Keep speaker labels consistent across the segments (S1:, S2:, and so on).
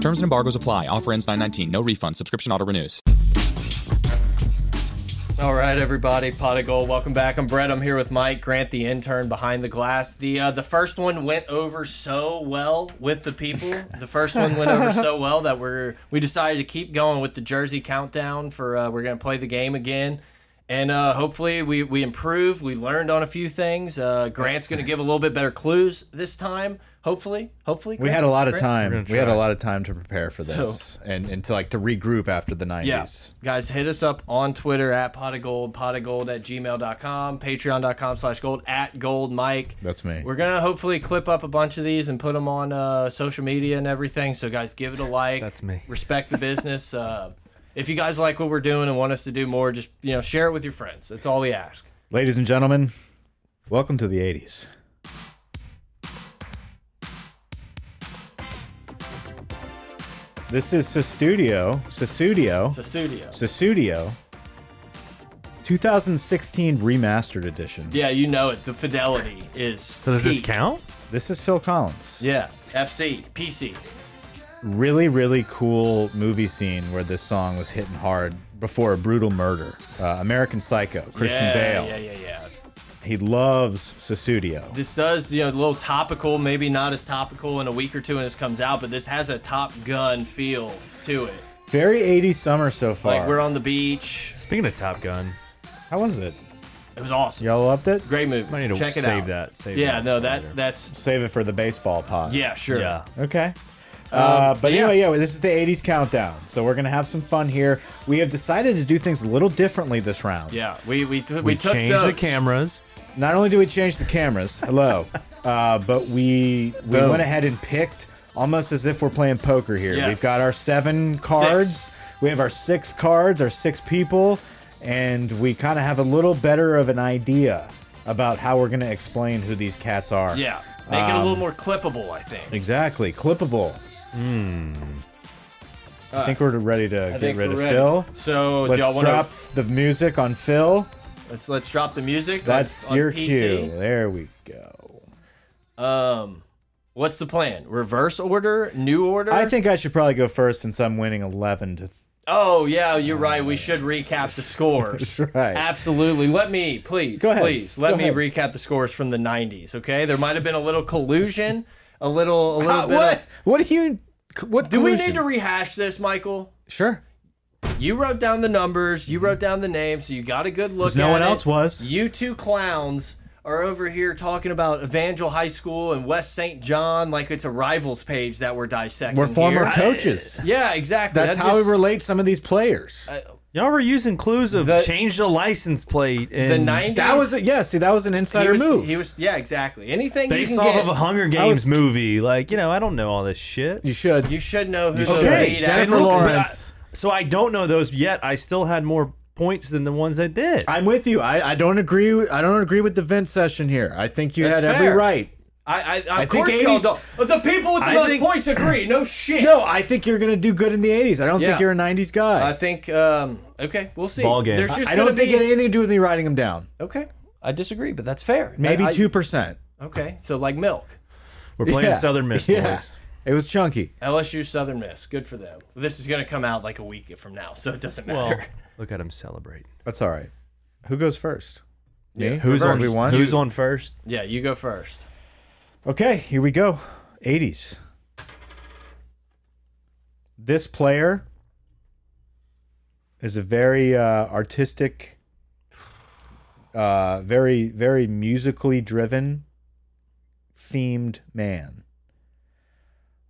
S1: Terms and embargoes apply. Offer ends 919. No refund. Subscription auto renews.
S2: All right, everybody, pot of gold. Welcome back. I'm Brett. I'm here with Mike Grant, the intern behind the glass. The uh, the first one went over so well with the people. The first one went over so well that we're we decided to keep going with the Jersey countdown for uh, we're gonna play the game again. And uh, hopefully we, we improved. We learned on a few things. Uh, Grant's going to give a little bit better clues this time. Hopefully, hopefully.
S3: We had a lot of time. We had a
S4: try.
S3: lot of time to prepare for this and, and to like to regroup after the 90s.
S2: Yeah. Guys, hit us up on Twitter at pot of gold, pot of gold at gmail.com, patreon.com slash gold, at gold mike.
S3: That's me.
S2: We're going to hopefully clip up a bunch of these and put them on uh, social media and everything. So, guys, give it a like.
S4: That's me.
S2: Respect the business. uh, if you guys like what we're doing and want us to do more, just you know, share it with your friends. That's all we ask.
S3: Ladies and gentlemen, welcome to the 80s. This is Sestudio, Sestudio,
S2: It's a studio.
S3: Sestudio 2016 remastered edition.
S2: Yeah, you know it. The fidelity is.
S4: So does this
S2: peak.
S4: count?
S3: This is Phil Collins.
S2: Yeah. FC, PC.
S3: really really cool movie scene where this song was hitting hard before a brutal murder uh, american psycho christian
S2: yeah,
S3: bale
S2: Yeah, yeah, yeah.
S3: he loves Susudio.
S2: this does you know a little topical maybe not as topical in a week or two when this comes out but this has a top gun feel to it
S3: very 80s summer so far
S2: like we're on the beach
S4: Speaking of Top Gun,
S3: how was it
S2: it was awesome
S3: y'all loved it
S2: great movie
S4: I need to
S2: check it
S4: save
S2: out
S4: that. Save
S2: yeah
S4: that
S2: no
S4: for
S2: that
S4: later.
S2: that's
S3: save it for the baseball pod
S2: yeah sure
S4: yeah.
S3: okay uh, but
S2: yeah.
S3: anyway, yeah, this is the 80s countdown. So we're going to have some fun here. We have decided to do things a little differently this round.
S2: yeah we we, we,
S4: We,
S2: took
S4: changed the
S2: notes.
S4: cameras.
S3: Not only do we change the cameras, hello, uh, but we we
S4: Boom.
S3: went ahead and picked almost as if we're playing poker here.
S2: Yes.
S3: We've got our seven cards, we have our six cards, our six people, and we kind of have a little better of an idea about how we're going to explain who these cats are.
S2: yeah make it a little more clippable i think
S3: Exactly. Clippable. Hmm. I think we're ready to
S2: I
S3: get
S2: think
S3: rid
S2: we're
S3: of
S2: ready.
S3: Phil.
S2: so do
S3: Let's
S2: y'all want
S3: drop
S2: to
S3: the music on Phil.
S2: let's let's drop the music
S3: That's
S2: on, on
S3: your
S2: PC.
S3: cue. There we go.
S2: um what's the plan reverse order new order
S3: I think I should probably go first since I'm winning 11 to.
S2: Oh yeah, you're right. We should recap the scores.
S3: That's right.
S2: Absolutely. Let me, please,
S3: Go ahead.
S2: please, let
S3: Go
S2: me
S3: ahead.
S2: recap the scores from the '90s. Okay, there might have been a little collusion, a little, a little bit. of-
S3: What do you? What
S2: Uh, Do we need to rehash this, Michael?
S3: Sure.
S2: You wrote down the numbers. You wrote down the names. So you got a good look.
S3: 'Cause no
S2: at
S3: one
S2: it.
S3: else was.
S2: You two clowns are over here talking about Evangel High School and West St. John like it's a rivals page that we're dissecting.
S3: We're former
S2: here.
S3: coaches.
S2: Yeah, exactly.
S3: That's
S2: That
S3: how
S2: just- Uh,
S3: we relate some of these players.
S4: Y'all were using clues of
S2: The-
S4: change the license plate in
S2: the '90s.
S3: that was a, yeah. See, that was an
S2: he
S3: insider
S2: was,
S3: move.
S2: He was yeah, exactly. Anything
S4: based
S2: you
S4: off
S2: can get,
S4: of a Hunger Games movie. Like, you know, I don't know all this shit.
S3: you should.
S2: you should know who
S3: You
S2: the
S3: should.
S2: lead
S3: Jennifer
S2: actress is.
S3: Lawrence.
S4: So I don't know those yet. I still had more points than the ones I did.
S3: I'm with you. I, I don't agree. I don't agree with the Vince session here. I think you
S2: That's
S3: had every
S2: fair.
S3: right.
S2: I, I, of
S3: I think
S2: course y'all
S3: 80s
S2: don't. But the people with the
S4: I
S2: most
S4: think-
S2: points agree. No shit.
S3: No, I think you're gonna do good in the '80s. I don't
S2: Yeah.
S3: think you're a '90s guy.
S2: I think. Um. Okay, we'll see.
S4: Ball game.
S2: There's
S4: I-
S2: just
S3: I don't
S2: gonna
S3: think
S2: be,
S3: it had anything to do with me writing them down.
S2: Okay, I disagree, but that's fair.
S3: Maybe
S2: I- I-
S3: two percent.
S2: Okay, so like milk,
S4: We're playing Southern Miss
S3: Yeah.
S4: boys.
S3: It was chunky.
S2: LSU, Southern Miss. Good for them. This is gonna come out like a week from now, so it doesn't matter.
S4: Well, look at him celebrate.
S3: That's all right. Who goes first? Me.
S4: Who's on?
S3: Reverse. We won?
S4: Who's on first?
S2: yeah, you go first.
S3: Okay, here we go. 80s. This player is a very uh, artistic, uh, very, very musically driven, themed man.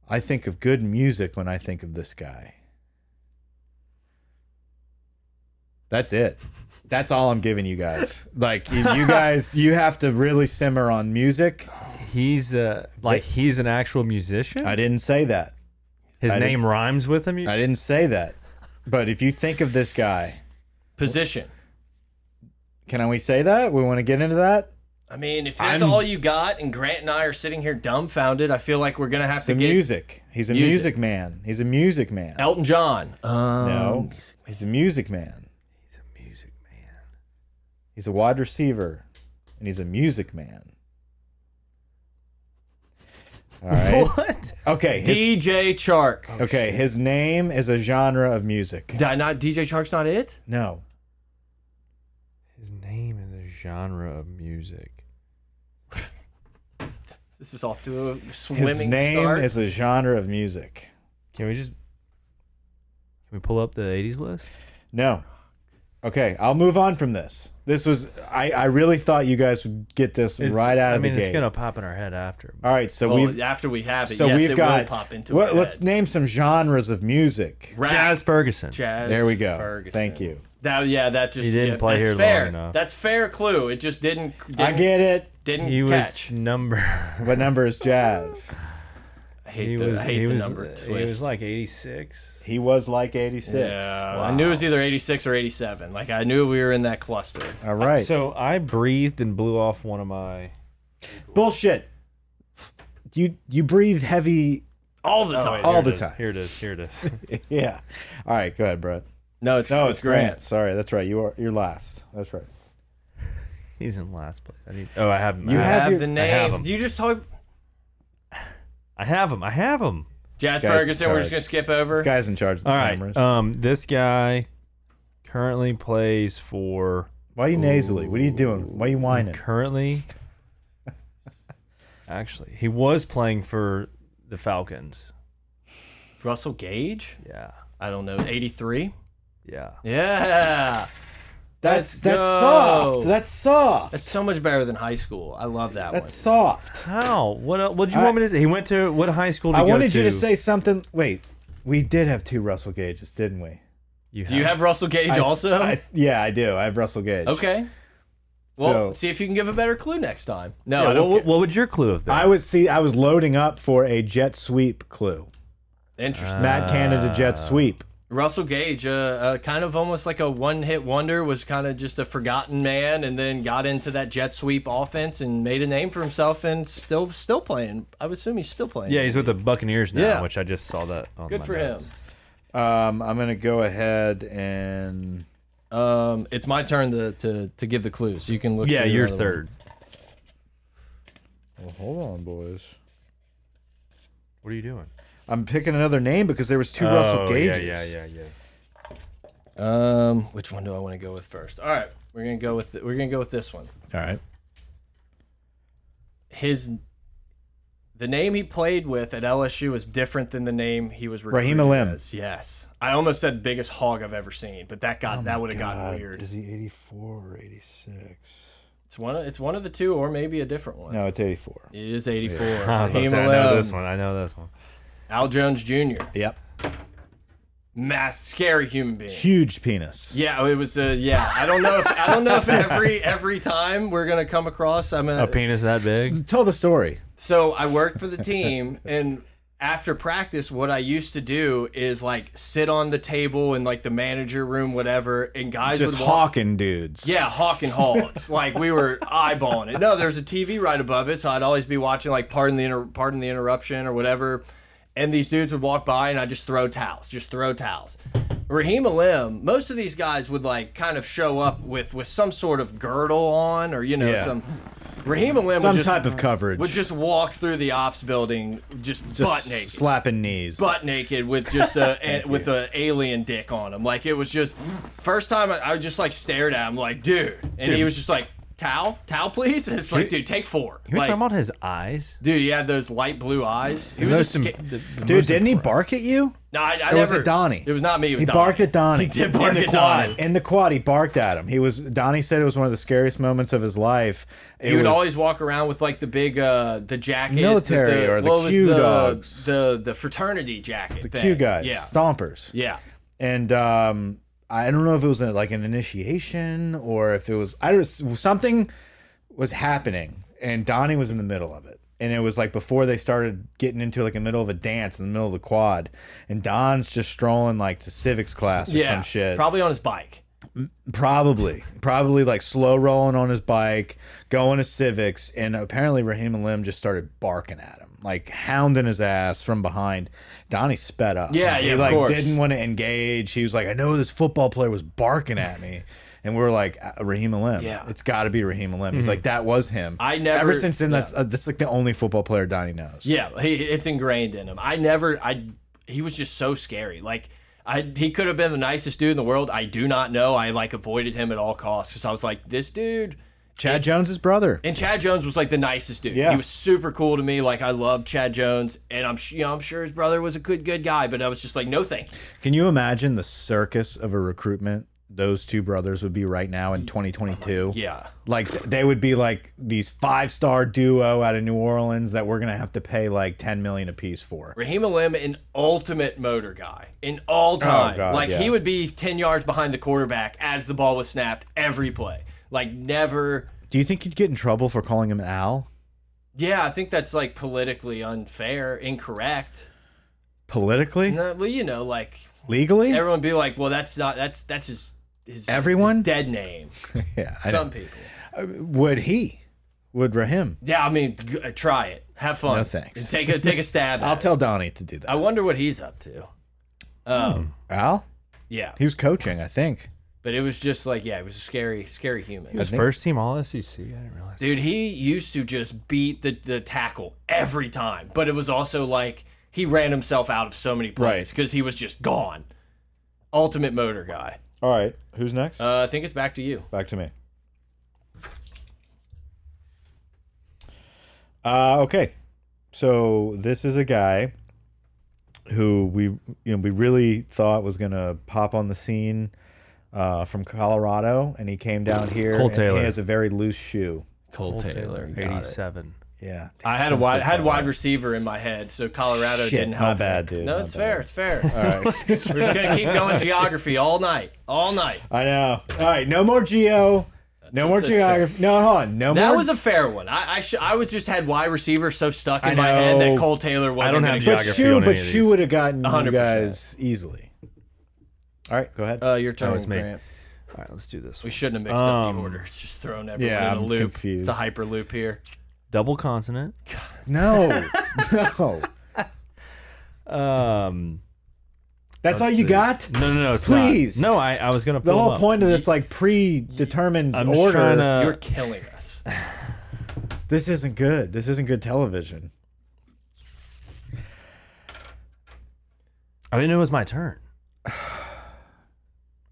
S3: I think of good music when I think of this guy. That's it. That's all I'm giving you guys. Like, if you guys, you have to really simmer on music.
S4: He's uh, like he's an actual musician.
S3: I didn't say that.
S4: His
S3: I
S4: name rhymes with him.
S3: I didn't say that. But if you think of this guy,
S2: Position.
S3: can we say that? We want to get into that?
S2: I mean, if that's
S4: I'm-
S2: all you got, and Grant and I are sitting here dumbfounded, I feel like we're gonna have
S3: The
S2: to get
S3: music. He's a
S2: Music.
S3: music. man. He's a music man.
S2: Elton John. Um,
S3: no. He's a music man.
S4: Music man.
S3: He's a wide receiver and he's a music man. All right.
S4: What?
S3: Okay. His,
S2: DJ Chark.
S3: okay. His name is a genre of music.
S2: Di- not DJ Chark's not it.
S3: No.
S4: His name is a genre of music.
S2: This is off to a swimming
S3: His name
S2: start.
S3: is a genre of music.
S4: Can we just can we pull up the '80s list?
S3: No. Okay. I'll move on from this. This was, I, I really thought you guys would get this right out
S4: I
S3: of
S4: mean,
S3: the gate.
S4: it's gonna pop in our head after.
S3: All right. So
S2: Well,
S3: we've,
S2: after we have it,
S3: so
S2: yes,
S3: we've
S2: it
S3: got,
S2: will pop into
S3: what-
S2: our
S3: let's
S2: head.
S3: name some genres of music.
S2: Rap,
S4: Jazz Ferguson.
S2: Jazz.
S3: There we go.
S2: Ferguson.
S3: Thank you.
S2: That yeah, that just
S4: He didn't
S2: yeah,
S4: play
S2: that's
S4: here long
S2: fair.
S4: enough.
S2: That's fair clue. It just didn't. didn't
S3: I get it.
S2: Didn't
S4: he
S2: catch.
S4: was number.
S3: What number is jazz?
S2: I
S4: He
S2: hate the,
S4: was.
S2: I
S4: he
S2: hate the
S4: was.
S2: number
S4: uh,
S2: twist.
S4: He was like '86.
S3: He was like 86.
S2: Yeah, I knew it was either 86 or 87. Like I knew we were in that cluster.
S3: All right.
S4: So I breathed and blew off one of my.
S3: Bullshit. You you breathe heavy.
S2: All the
S4: Oh,
S2: time.
S4: wait,
S3: All
S4: here it
S3: the
S4: is,
S3: time.
S4: Here it is. Here it is.
S3: Yeah. All right. Go ahead, Brett.
S2: no, it's
S3: No, it's Grant. Sorry, that's right. You are you're last. That's right.
S4: He's in last place. I need. Oh, I have him.
S3: You
S4: I
S2: I
S3: have
S2: have
S3: your-
S2: the
S4: I have
S2: name.
S4: him.
S2: Do you just talk
S4: I have him. I have him.
S2: Jazz
S3: This guy's
S2: Ferguson? We're just
S3: charged.
S2: gonna skip
S3: This
S2: over.
S3: guy's in charge of the
S4: All right.
S3: cameras.
S4: Um, this guy currently plays for.
S3: Why are you nasally? What are you doing? Why are you whining?
S4: Currently, actually, he was playing for the Falcons.
S2: Russell Gage.
S4: Yeah.
S2: I don't know. 83.
S4: Yeah.
S2: Yeah,
S3: That's
S2: Let's
S3: that's
S2: go.
S3: soft. That's soft.
S2: that's so much better than high school. I love that
S3: That's soft.
S4: How? What? el- What did you
S3: I-
S4: want me to say? He went to what high school? Did
S3: I
S4: he go
S3: wanted you to
S4: to
S3: say something. Wait, we did have two Russell Gages, didn't we?
S4: You
S2: one. Do you have Russell Gage
S3: I-
S2: also?
S3: I, yeah, I do. I have Russell Gage.
S2: okay. Well,
S3: So-
S2: see if you can give a better clue next time. No,
S4: Yeah,
S2: I
S4: what,
S2: don't
S4: what,
S2: get-
S4: what would your clue have been?
S3: I was see. I was loading up for a jet sweep clue.
S4: Uh,
S2: Interesting.
S3: Matt Canada jet sweep.
S2: Russell Gage, uh, uh, kind of almost like a one-hit wonder, was kind of just a forgotten man, and then got into that jet sweep offense and made a name for himself, and still still playing. I would assume he's still playing.
S4: yeah, he's with the Buccaneers now,
S2: Yeah.
S4: which I just saw that. On
S2: good
S4: my
S2: for
S4: notes.
S3: Um, I'm gonna go ahead and
S2: him. Um, it's my turn to, to to give the clue, so you can look.
S4: Yeah,
S2: through
S4: you're
S2: another one.
S4: third.
S3: well, hold on, boys.
S4: What are you doing?
S3: I'm picking another name because there was two
S4: Oh,
S3: Russell Gages.
S4: Yeah, yeah, yeah, yeah.
S2: Um, which one do I want to go with first? All right, we're gonna go with we're gonna go with this one.
S3: All right.
S2: His the name he played with at LSU is different than the name he was
S3: Raheem
S2: recruited
S3: Alim.
S2: as. Yes, I almost said biggest hog I've ever seen, but that got that would have gotten weird.
S3: Is he 84 or 86?
S2: It's one of, it's one of the two, or maybe a different one.
S3: No, it's 84.
S2: It is 84.
S4: I, was about to
S2: Raheem
S4: say, I know
S2: Alim,
S4: this one. I know this one.
S2: Al Jones Jr.
S3: Yep.
S2: Mass scary human being.
S3: Huge penis.
S2: Yeah, it was. Uh, yeah, I don't know. If, I don't know if every every time we're gonna come across. I'm gonna,
S4: A penis that big?
S3: Tell the story.
S2: So I worked for the team and after practice what I used to do is like sit on the table in like the manager room whatever and guys
S3: Just
S2: would walk
S3: hawking dudes.
S2: yeah, hawking hogs. like we were eyeballing it. No, there's a TV right above it, so I'd always be watching like pardon the inter- pardon the interruption or whatever. And these dudes would walk by, and I just throw towels, just throw towels. Raheem Alim, most of these guys would like kind of show up with with some sort of girdle on, or you know,
S3: Yeah.
S2: some Raheem Alim would
S3: Some
S2: just,
S3: type of coverage.
S2: would just walk through the ops building, just,
S3: Just
S2: butt naked
S3: slapping knees.
S2: butt naked with just a, a with an alien dick on him. Like it was just first time I, I just like stared at him like, dude, and he was just like, towel, towel, please. And it's like, dude, take four.
S4: You
S2: Like,
S4: talking about his eyes?
S2: dude, he had those light blue eyes. He was just
S3: Most
S2: sca-
S3: im- Dude, didn't he bark at you?
S2: no, I, I
S3: Or
S2: never.
S3: was it Donnie?
S2: It was not me. It was
S3: He
S2: Donnie.
S3: barked at Donnie. He
S2: did bark
S3: in the
S2: at
S3: quad.
S2: Donnie.
S3: In the quad, he barked at him. He was Donnie said it was one of the scariest moments of his life. It
S2: He would
S3: was-
S2: always walk around with like the big uh the jacket,
S3: Military
S2: the,
S3: or the
S2: what was
S3: Q
S2: the,
S3: dogs.
S2: the the fraternity jacket, the
S3: Q guys,
S2: yeah,
S3: stompers,
S2: yeah.
S3: and um, I don't know if it was like an initiation or if it was I don't something was happening, and Donnie was in the middle of it, and it was like before they started getting into like the middle of a dance in the middle of the quad, and Don's just strolling like to civics class or
S2: yeah,
S3: some shit.
S2: probably on his bike.
S3: Probably, probably like slow rolling on his bike, going to civics, and apparently Raheem and Lim just started barking at him, like hounding his ass from behind. Donnie sped up.
S2: Yeah,
S3: he
S2: yeah, of
S3: like
S2: course.
S3: didn't want to engage. He was like, I know this football player was barking at me. And we were like "Uh, Raheem Alim.
S2: Yeah. Mm-hmm.
S3: it's got to be Raheem Alim. He's like, that was him.
S2: I never-
S3: Ever since then,
S2: yeah.
S3: that's uh, that's like the only football player Donnie knows.
S2: Yeah, he, it's ingrained in him. I never, I he was just so scary. Like I, he could have been the nicest dude in the world. I do not know. I like avoided him at all costs because I was like, this dude.
S3: Chad Jones's brother.
S2: And Chad Jones was like the nicest dude.
S3: Yeah.
S2: He was super cool to me. Like I loved Chad Jones, and I'm su- you know I'm sure his brother was a good good guy, but I was just like, no thank you.
S3: Can you imagine the circus of a recruitment those two brothers would be right now in 2022?
S2: Yeah.
S3: Like they would be like these five-star duo out of New Orleans that we're going to have to pay like 10 million apiece for.
S2: Raheem Alim, an ultimate motor guy in all time.
S3: Oh, God,
S2: like
S3: yeah.
S2: he would be ten yards behind the quarterback as the ball was snapped every play. Like never.
S3: Do you think you'd get in trouble for calling him an owl?
S2: Yeah, I think that's like politically unfair, incorrect.
S3: Politically?
S2: No, well, you know, like
S3: Legally?
S2: everyone be like, well, that's not that's that's his his
S3: Everyone?
S2: his dead name.
S3: yeah. I
S2: Some people.
S3: would he? Would Rahim?
S2: Yeah, I mean, g- uh, try it. Have fun.
S3: No, thanks.
S2: And Take a take a stab. at
S3: I'll
S2: it.
S3: tell Donnie to do that.
S2: I wonder what he's up to. Um,
S3: Al?
S2: yeah,
S3: He was coaching, I think.
S2: but it was just like, yeah, it was a scary, scary human.
S4: His first team All SEC. I didn't realize.
S2: Dude, he used to just beat the, the tackle every time, but it was also like he ran himself out of so many plays
S3: Right.
S2: because he was just gone. Ultimate motor guy.
S3: All right. Who's next?
S2: Uh, I think it's back to you.
S3: Back to me. Uh, okay, so this is a guy who we you know we really thought was gonna pop on the scene uh, from Colorado, and he came down here.
S4: Cole
S3: and
S4: Taylor.
S3: He has a very loose shoe.
S2: Cole,
S4: eighty-seven.
S3: Yeah,
S2: I had a wide had wide receiver in my head, so Colorado
S3: Shit,
S2: didn't
S3: my
S2: help.
S3: bad,
S2: me.
S3: dude,
S2: No,
S3: my
S2: it's
S3: bad.
S2: fair. It's fair. We're just gonna keep going geography all night, all night.
S3: I know. All right, no more geo, no more
S2: that's fair.
S3: geography. No, hold on, no
S2: That
S3: more.
S2: was a fair one. I I, sh I was just had wide receiver so stuck in
S3: I
S2: my head
S3: know.
S2: that Cole Taylor wasn't.
S4: don't have
S2: gonna
S3: but
S4: geography
S3: shoe,
S4: on any
S3: but
S4: of
S3: shoe
S4: these.
S3: would have gotten you
S2: 100%.
S3: guys easily. All right, go ahead.
S2: go. Uh, your turn.
S4: Oh, it's me.
S2: Grant.
S4: All right, let's do this.
S2: We
S4: One.
S2: shouldn't have mixed up
S4: Um,
S2: the order. It's just thrown everyone
S3: yeah,
S2: in a
S3: I'm
S2: loop.
S3: confused.
S2: It's a hyperloop here.
S4: Double consonant.
S3: No, no.
S4: Um,
S3: That's all you
S4: see.
S3: got.
S4: no, no, no. It's
S3: Please.
S4: Not. No, I, I was gonna. Pull
S3: The whole
S4: up.
S3: point of this like predetermined
S4: I'm just
S3: order.
S4: trying to-
S2: You're killing us.
S3: This isn't good. This isn't good television.
S4: I didn't know it was my turn. I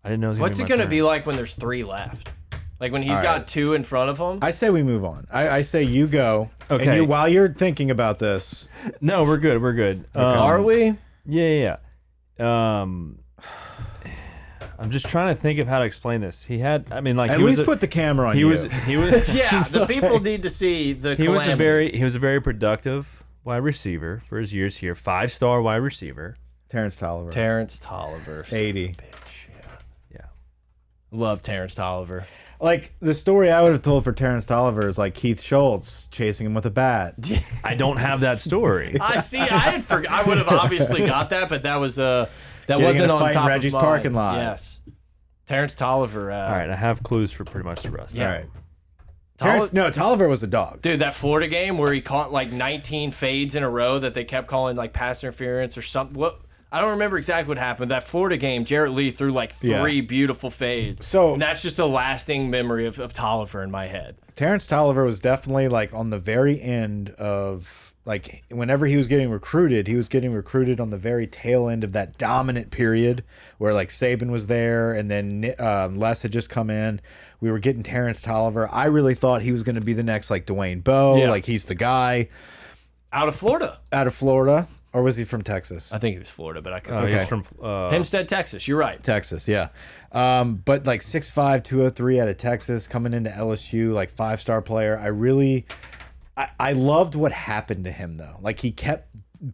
S4: didn't know it was.
S2: What's it
S4: gonna
S2: gonna be like when there's three left? Like when he's got two in front of him?
S3: I say we move on. I, I say you go. And
S4: Okay.
S3: you, while you're thinking about this,
S4: be like? No, we're good. We're good. Um,
S2: Are we?
S4: Yeah, yeah, yeah. Um, I'm just trying to think of how to explain this. He had. I mean, like
S3: at
S4: he was.
S3: least
S4: a-
S3: put the camera on
S4: he
S3: you.
S4: was. He was.
S2: Yeah, the people need to see the.
S4: he was a
S2: calamity.
S4: very he was a very productive wide receiver for his years here. Five star wide receiver.
S3: Terrence Tolliver.
S2: Terrence Tolliver. son of a
S3: 80.
S2: bitch, yeah.
S4: Yeah.
S2: Love Terrence Tolliver.
S3: like the story I would have told for Terrence Tolliver is like Keith Schultz chasing him with a bat.
S4: I don't have that story.
S2: I see. I had forgot. I would have obviously got that, but that was uh that
S3: Getting in
S2: wasn't
S3: a
S2: on
S3: fight in
S2: top
S3: Reggie's
S2: of mine.
S3: parking lot.
S2: Yes. Terrence Tolliver. Uh,
S4: All right, I have clues for pretty much the rest.
S2: Yeah.
S3: All right.
S2: Tolli-
S3: Terrence, no, Tolliver was a dog.
S2: Dude, that Florida game where he caught like 19 fades in a row that they kept calling like pass interference or something. What I don't remember exactly what happened. That Florida game, Jarrett Lee threw like
S3: Yeah.
S2: three beautiful fades.
S3: So-
S2: and that's just a lasting memory of, of Tolliver in my head.
S3: Terrence Tolliver was definitely like on the very end of like whenever he was getting recruited, he was getting recruited on the very tail end of that dominant period where like Saban was there and then um, Les had just come in. We were getting Terrence Tolliver. I really thought he was going to be the next like Dwayne Bowe,
S2: Yeah.
S3: like he's the guy
S2: Out of Florida.
S3: out of Florida, or was he from Texas?
S2: I think he was Florida, but I could
S4: Uh,
S2: okay.
S4: He's from uh,
S2: Hempstead, Texas. You're right.
S3: Texas, yeah. Um, but like 6'5", 203 out of Texas, coming into LSU, like five star player. I really, I, I loved what happened to him though. Like he kept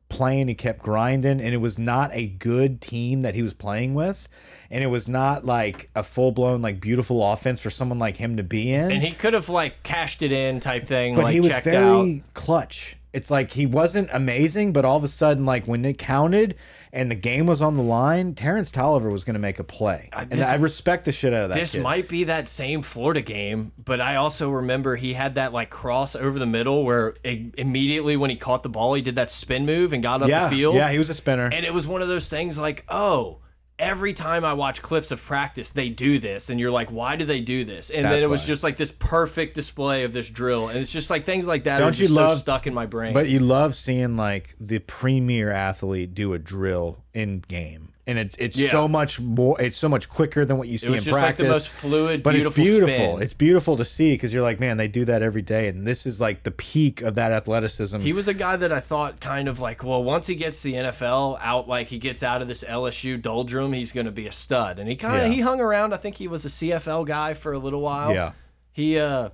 S3: playing, he kept grinding, and it was not a good team that he was playing with, and it was not like a full blown like beautiful offense for someone like him to be in.
S2: And he could have like cashed it in type thing,
S3: but
S2: like
S3: he was
S2: checked out.
S3: very clutch. It's like he wasn't amazing, but all of a sudden, like when it counted and the game was on the line, Terrence Tolliver was going to make a play, and
S2: Uh, this-
S3: I respect the shit out of that.
S2: This
S3: kid.
S2: might be that same Florida game, but I also remember he had that like cross over the middle where i immediately when he caught the ball, he did that spin move and got up
S3: yeah,
S2: the field.
S3: yeah, he was a spinner.
S2: And it was one of those things like, oh, every time I watch clips of practice, they do this. And you're like, why do they do this? And then
S3: That's
S2: it was
S3: why.
S2: just like this perfect display of this drill. And it's just like things like that
S3: Don't
S2: are just
S3: you
S2: so
S3: love-
S2: stuck in my brain.
S3: But you love seeing like the premier athlete do a drill in game, and it's it's
S2: Yeah.
S3: so much more. It's so much quicker than what you see
S2: was
S3: in
S2: just, like, the
S3: practice.
S2: most fluid,
S3: but
S2: beautiful
S3: it's beautiful.
S2: spin.
S3: It's beautiful to see because you're like, man, they do that every day, and this is like the peak of that athleticism.
S2: He was a guy that I thought kind of like, well, once he gets the NFL out, like he gets out of this LSU doldrum, he's going to be a stud. And he kind of
S3: Yeah.
S2: he hung around. I think he was a CFL guy for a little while.
S3: yeah,
S2: He uh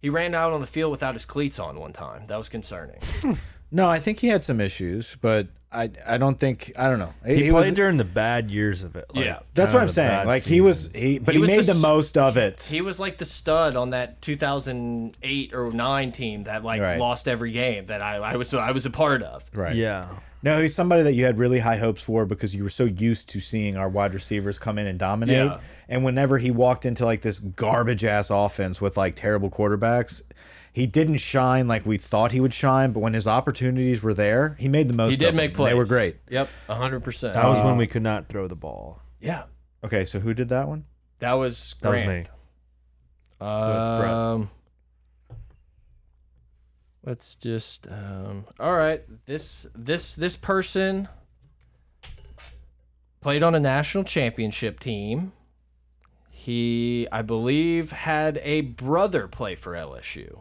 S2: he ran out on the field without his cleats on one time. That was concerning.
S3: no, I think he had some issues, but I I don't think I don't know. It-
S4: He
S3: it
S4: played
S3: was-
S4: during the bad years of it. Like,
S2: Yeah.
S3: that's what
S4: kind of
S3: I'm
S4: the
S3: saying.
S4: bad
S3: Like he was
S4: seasons.
S3: he, but
S2: He
S3: he,
S2: was
S3: made
S2: the
S3: the,
S2: s-
S3: most of it.
S2: He was like the stud on that 2008 or 9 team that like
S3: Right.
S2: lost every game that I, I was I was a part of.
S3: right.
S4: Yeah.
S3: No, he's somebody that you had really high hopes for because you were so used to seeing our wide receivers come in and dominate.
S2: Yeah.
S3: And whenever he walked into like this garbage ass offense with like terrible quarterbacks, he didn't shine like we thought he would shine. But when his opportunities were there, he made the most.
S2: He did
S3: of
S2: make
S3: them.
S2: plays.
S3: They were great.
S2: Yep, 100%.
S4: That was when we could not throw the ball.
S2: yeah.
S3: Okay, so who did that one?
S2: That was
S4: That was
S2: Grant.
S4: me. So it's Brett.
S2: Um, let's just. Um, all right, this this this person played on a national championship team. He, I believe, had a brother play for LSU.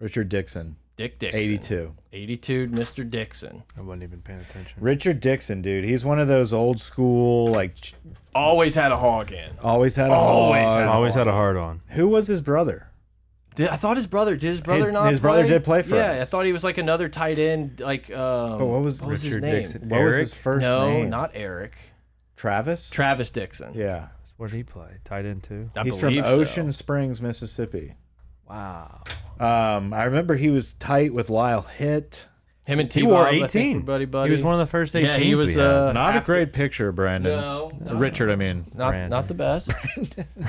S3: Richard Dixon,
S2: Dick Dixon,
S3: eighty-two.
S2: 82, Mr. Dixon,
S4: I wasn't even paying attention.
S3: Richard Dixon, dude, he's one of those old school like ch-
S2: always had a hog in.
S3: always had a
S2: Always
S3: hog.
S2: had a
S4: I always had a hard on.
S3: Who was his brother?
S2: Did, I thought his brother did his brother
S3: His-
S2: not?
S3: his brother did play for
S2: Yeah,
S3: us.
S2: I thought he was like another tight end, like. Um,
S3: But what was
S2: what was his
S4: Richard
S2: name?
S4: Dixon.
S3: What was his
S4: Eric?
S3: first
S2: no,
S3: name?
S2: not Eric.
S3: Travis.
S2: Travis Dixon.
S3: yeah.
S4: Where did he play? Tight end too.
S2: I
S3: He's from
S2: believe so.
S3: Ocean Springs, Mississippi.
S4: Wow.
S3: Um, I remember he was tight with Lyle Hitt.
S2: Him and T.
S4: He wore
S2: Bob, I think,
S4: eighteen.
S2: were buddy, buddy.
S4: He was one of the first eighteen.
S2: Yeah, he was. Uh,
S3: Not a
S2: after-
S3: great picture, Brandon.
S2: No, not,
S3: Richard, I mean.
S2: not,
S4: Brandon.
S2: not the best.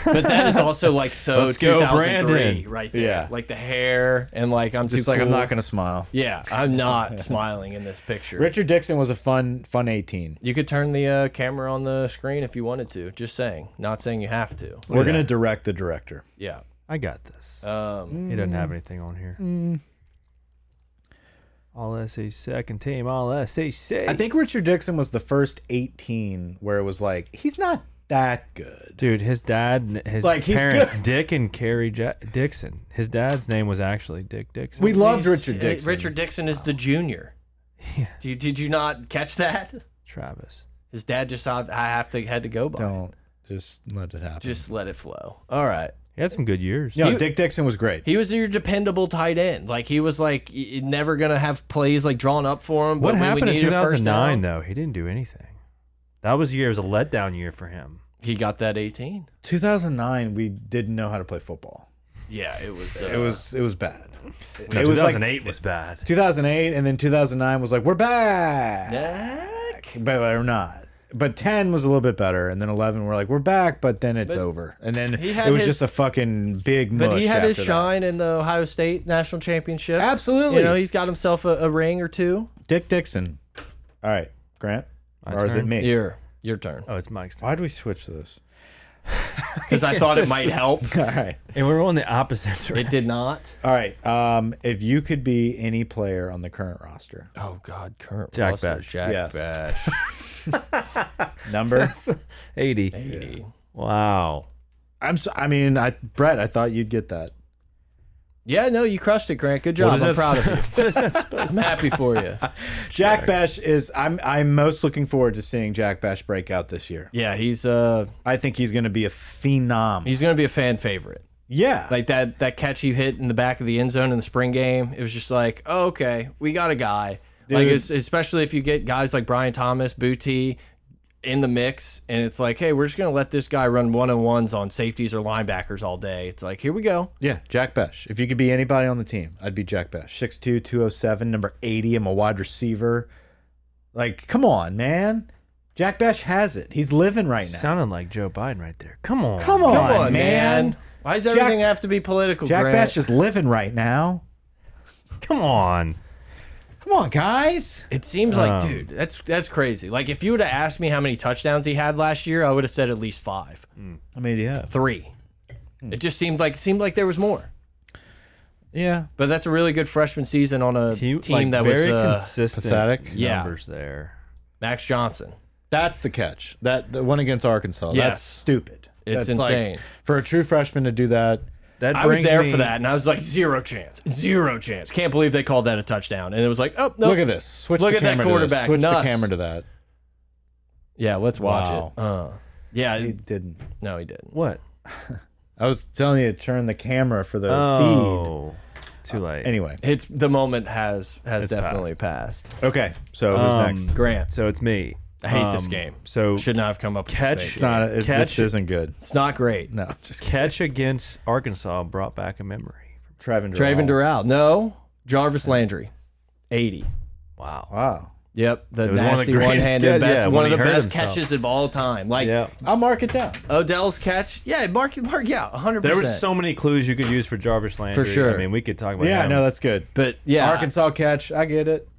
S2: but that is also like so
S4: Let's go,
S2: 2003,
S4: Brandon.
S2: right there.
S3: Yeah.
S2: like the hair and like I'm
S3: Just
S2: too
S3: like I'm
S2: cool.
S3: not gonna smile.
S2: Yeah, I'm not smiling in this picture.
S3: Richard Dixon was a fun, fun 18.
S2: You could turn the uh, camera on the screen if you wanted to. Just saying, not saying you have to.
S3: We're gonna direct the director.
S2: Yeah.
S4: I got this.
S2: Um,
S4: He doesn't have anything on here. All SEC second team. All SEC.
S3: I think Richard Dixon was the first 18 where it was like he's not that good.
S4: Dude, his dad, and his
S3: Like, he's
S4: parents,
S3: good.
S4: Dick and Carrie ja Dixon. His dad's name was actually Dick Dixon.
S3: We loved
S2: he's-
S3: Richard
S2: uh,
S3: Dixon.
S2: Richard Dixon is the junior.
S4: Yeah.
S2: Do you, did you not catch that?
S4: Travis.
S2: His dad just I, I have to had to go by. it.
S3: don't just let it happen.
S2: Just let it flow. All right.
S4: He had some good years.
S3: no,
S2: he-
S3: Dick Dixon was great.
S2: He was your dependable tight end. Like he was like y- y- never gonna have plays like drawn up for him. but
S4: What
S2: when we
S4: happened in
S2: needed a first
S4: 2009
S2: down,
S4: though? He didn't do anything. That was a year. It was a letdown year for him.
S2: He got that 18.
S3: 2009, we didn't know how to play football.
S2: Yeah, it was. Uh,
S3: It was, it was bad.
S4: No,
S3: it was like
S4: 2008 was bad.
S3: 2008, and then 2009 was like we're back.
S2: Heck.
S3: but we're not. But ten was a little bit better, and then eleven we're like we're back, but then it's over, and then
S2: He had
S3: it was
S2: his-
S3: just a fucking big.
S2: But
S3: mush
S2: he had his
S3: after that.
S2: shine in the Ohio State national championship.
S3: Absolutely.
S2: You know, he's got himself a, a ring or two.
S3: Dick Dixon. All right, Grant,
S4: My
S3: or is it
S4: turn?
S3: me?
S2: Your your turn.
S4: Oh, it's Mike's.
S3: Why do we switch this?
S2: Because I thought it might help.
S3: All right,
S4: And we're on the opposite. direction.
S2: It did not.
S3: all right. Um, if you could be any player on the current roster,
S2: Oh God, current
S4: Jack
S2: roster,
S4: Bash.
S2: Jack
S3: Yes.
S2: Bash.
S3: number.
S4: 80.
S2: 80.
S4: Wow.
S3: I'm. So, I mean, I Brett, I thought you'd get that.
S2: Yeah, no, you crushed it, Grant. Good job.
S4: is
S2: I'm
S4: that-
S2: proud of you. I'm happy for you.
S3: Jack Bash is. I'm. I'm most looking forward to seeing Jack Bash break out this year.
S2: Yeah, he's uh
S3: I think he's going to be a phenom.
S2: he's gonna be a fan favorite.
S3: yeah.
S2: like that that catch he hit in the back of the end zone in the spring game. It was just like, oh, okay, we got a guy. Like
S3: Dude.
S2: it's, especially if you get guys like Brian Thomas, Booty, in the mix and it's like, hey, we're just gonna let this guy run one on ones on safeties or linebackers all day. It's like, here we go.
S3: Yeah, Jack Besh. If you could be anybody on the team, I'd be Jack Besh. 6'2", 207, number 80. I'm a wide receiver. Like, come on, man. Jack Besh has it. He's living right now.
S4: Sounding like Joe Biden right there. Come on.
S3: come on,
S2: Come on, man.
S3: man.
S2: Why does
S3: Jack-
S2: everything have to be political?
S3: Jack
S2: Grant?
S3: Besh is living right now.
S4: Come on.
S3: Come on, guys.
S2: It seems like,
S4: Um,
S2: dude, that's that's crazy. Like, if you would have asked me how many touchdowns he had last year, I would have said at least five,
S3: I mean, yeah.
S2: three. It just seemed like seemed like there was more.
S3: Yeah.
S2: But that's a really good freshman season on a
S4: He,
S2: team
S4: like,
S2: that was
S4: very
S2: uh,
S4: consistent
S3: pathetic.
S2: Yeah.
S4: numbers there.
S2: Max Johnson.
S3: That's the catch. That the one against Arkansas.
S2: Yeah.
S3: That's stupid.
S2: It's
S3: That's like-
S2: insane.
S3: for a true freshman to do that.
S4: That
S2: I was
S4: brings
S2: there
S4: me-
S2: for that, and I was like, zero chance, zero chance. Can't believe they called that a touchdown. And it was like, oh no,
S3: Look at this. Switch
S2: Look
S3: the
S2: at that
S3: camera To
S2: quarterback,
S3: this. Switch
S2: nuts.
S3: the camera to that.
S2: Yeah, let's watch
S3: Wow.
S2: it. Uh, yeah,
S3: He didn't.
S2: no, he didn't.
S4: What?
S3: I was telling you to turn the camera for the
S4: Oh, too late.
S3: feed. Anyway,
S2: It's the moment has has
S4: It's
S2: definitely passed.
S3: okay. So who's
S4: Um,
S3: next?
S2: Grant,
S4: So it's me.
S2: I
S4: Um,
S2: hate this game.
S4: So
S2: should not have come up.
S4: catch-
S2: with this
S3: It's
S2: name.
S3: not. It,
S4: catch-
S3: this isn't good.
S2: It's not great.
S3: No, just kidding.
S4: catch against Arkansas brought back a memory.
S3: Traven.
S2: Traven Durrell. No, Jarvis Landry, eighty.
S4: Wow.
S3: Wow.
S2: Yep, the
S4: was one of the
S2: nasty
S4: greatest
S2: one-handed
S4: catch-
S2: best,
S4: yeah,
S2: one
S4: when
S2: of
S4: he
S2: the
S4: hurt
S2: best
S4: himself.
S2: catches of all time. Like
S4: Yeah.
S3: I'll mark it down.
S2: Odell's catch. Yeah, mark mark out, hundred
S4: There
S2: percent.
S4: were so many clues you could use for Jarvis Landry.
S2: sure.
S4: I mean, we could talk about
S3: Yeah,
S4: him.
S3: no, that's good.
S2: but yeah,
S3: Arkansas catch. I get it.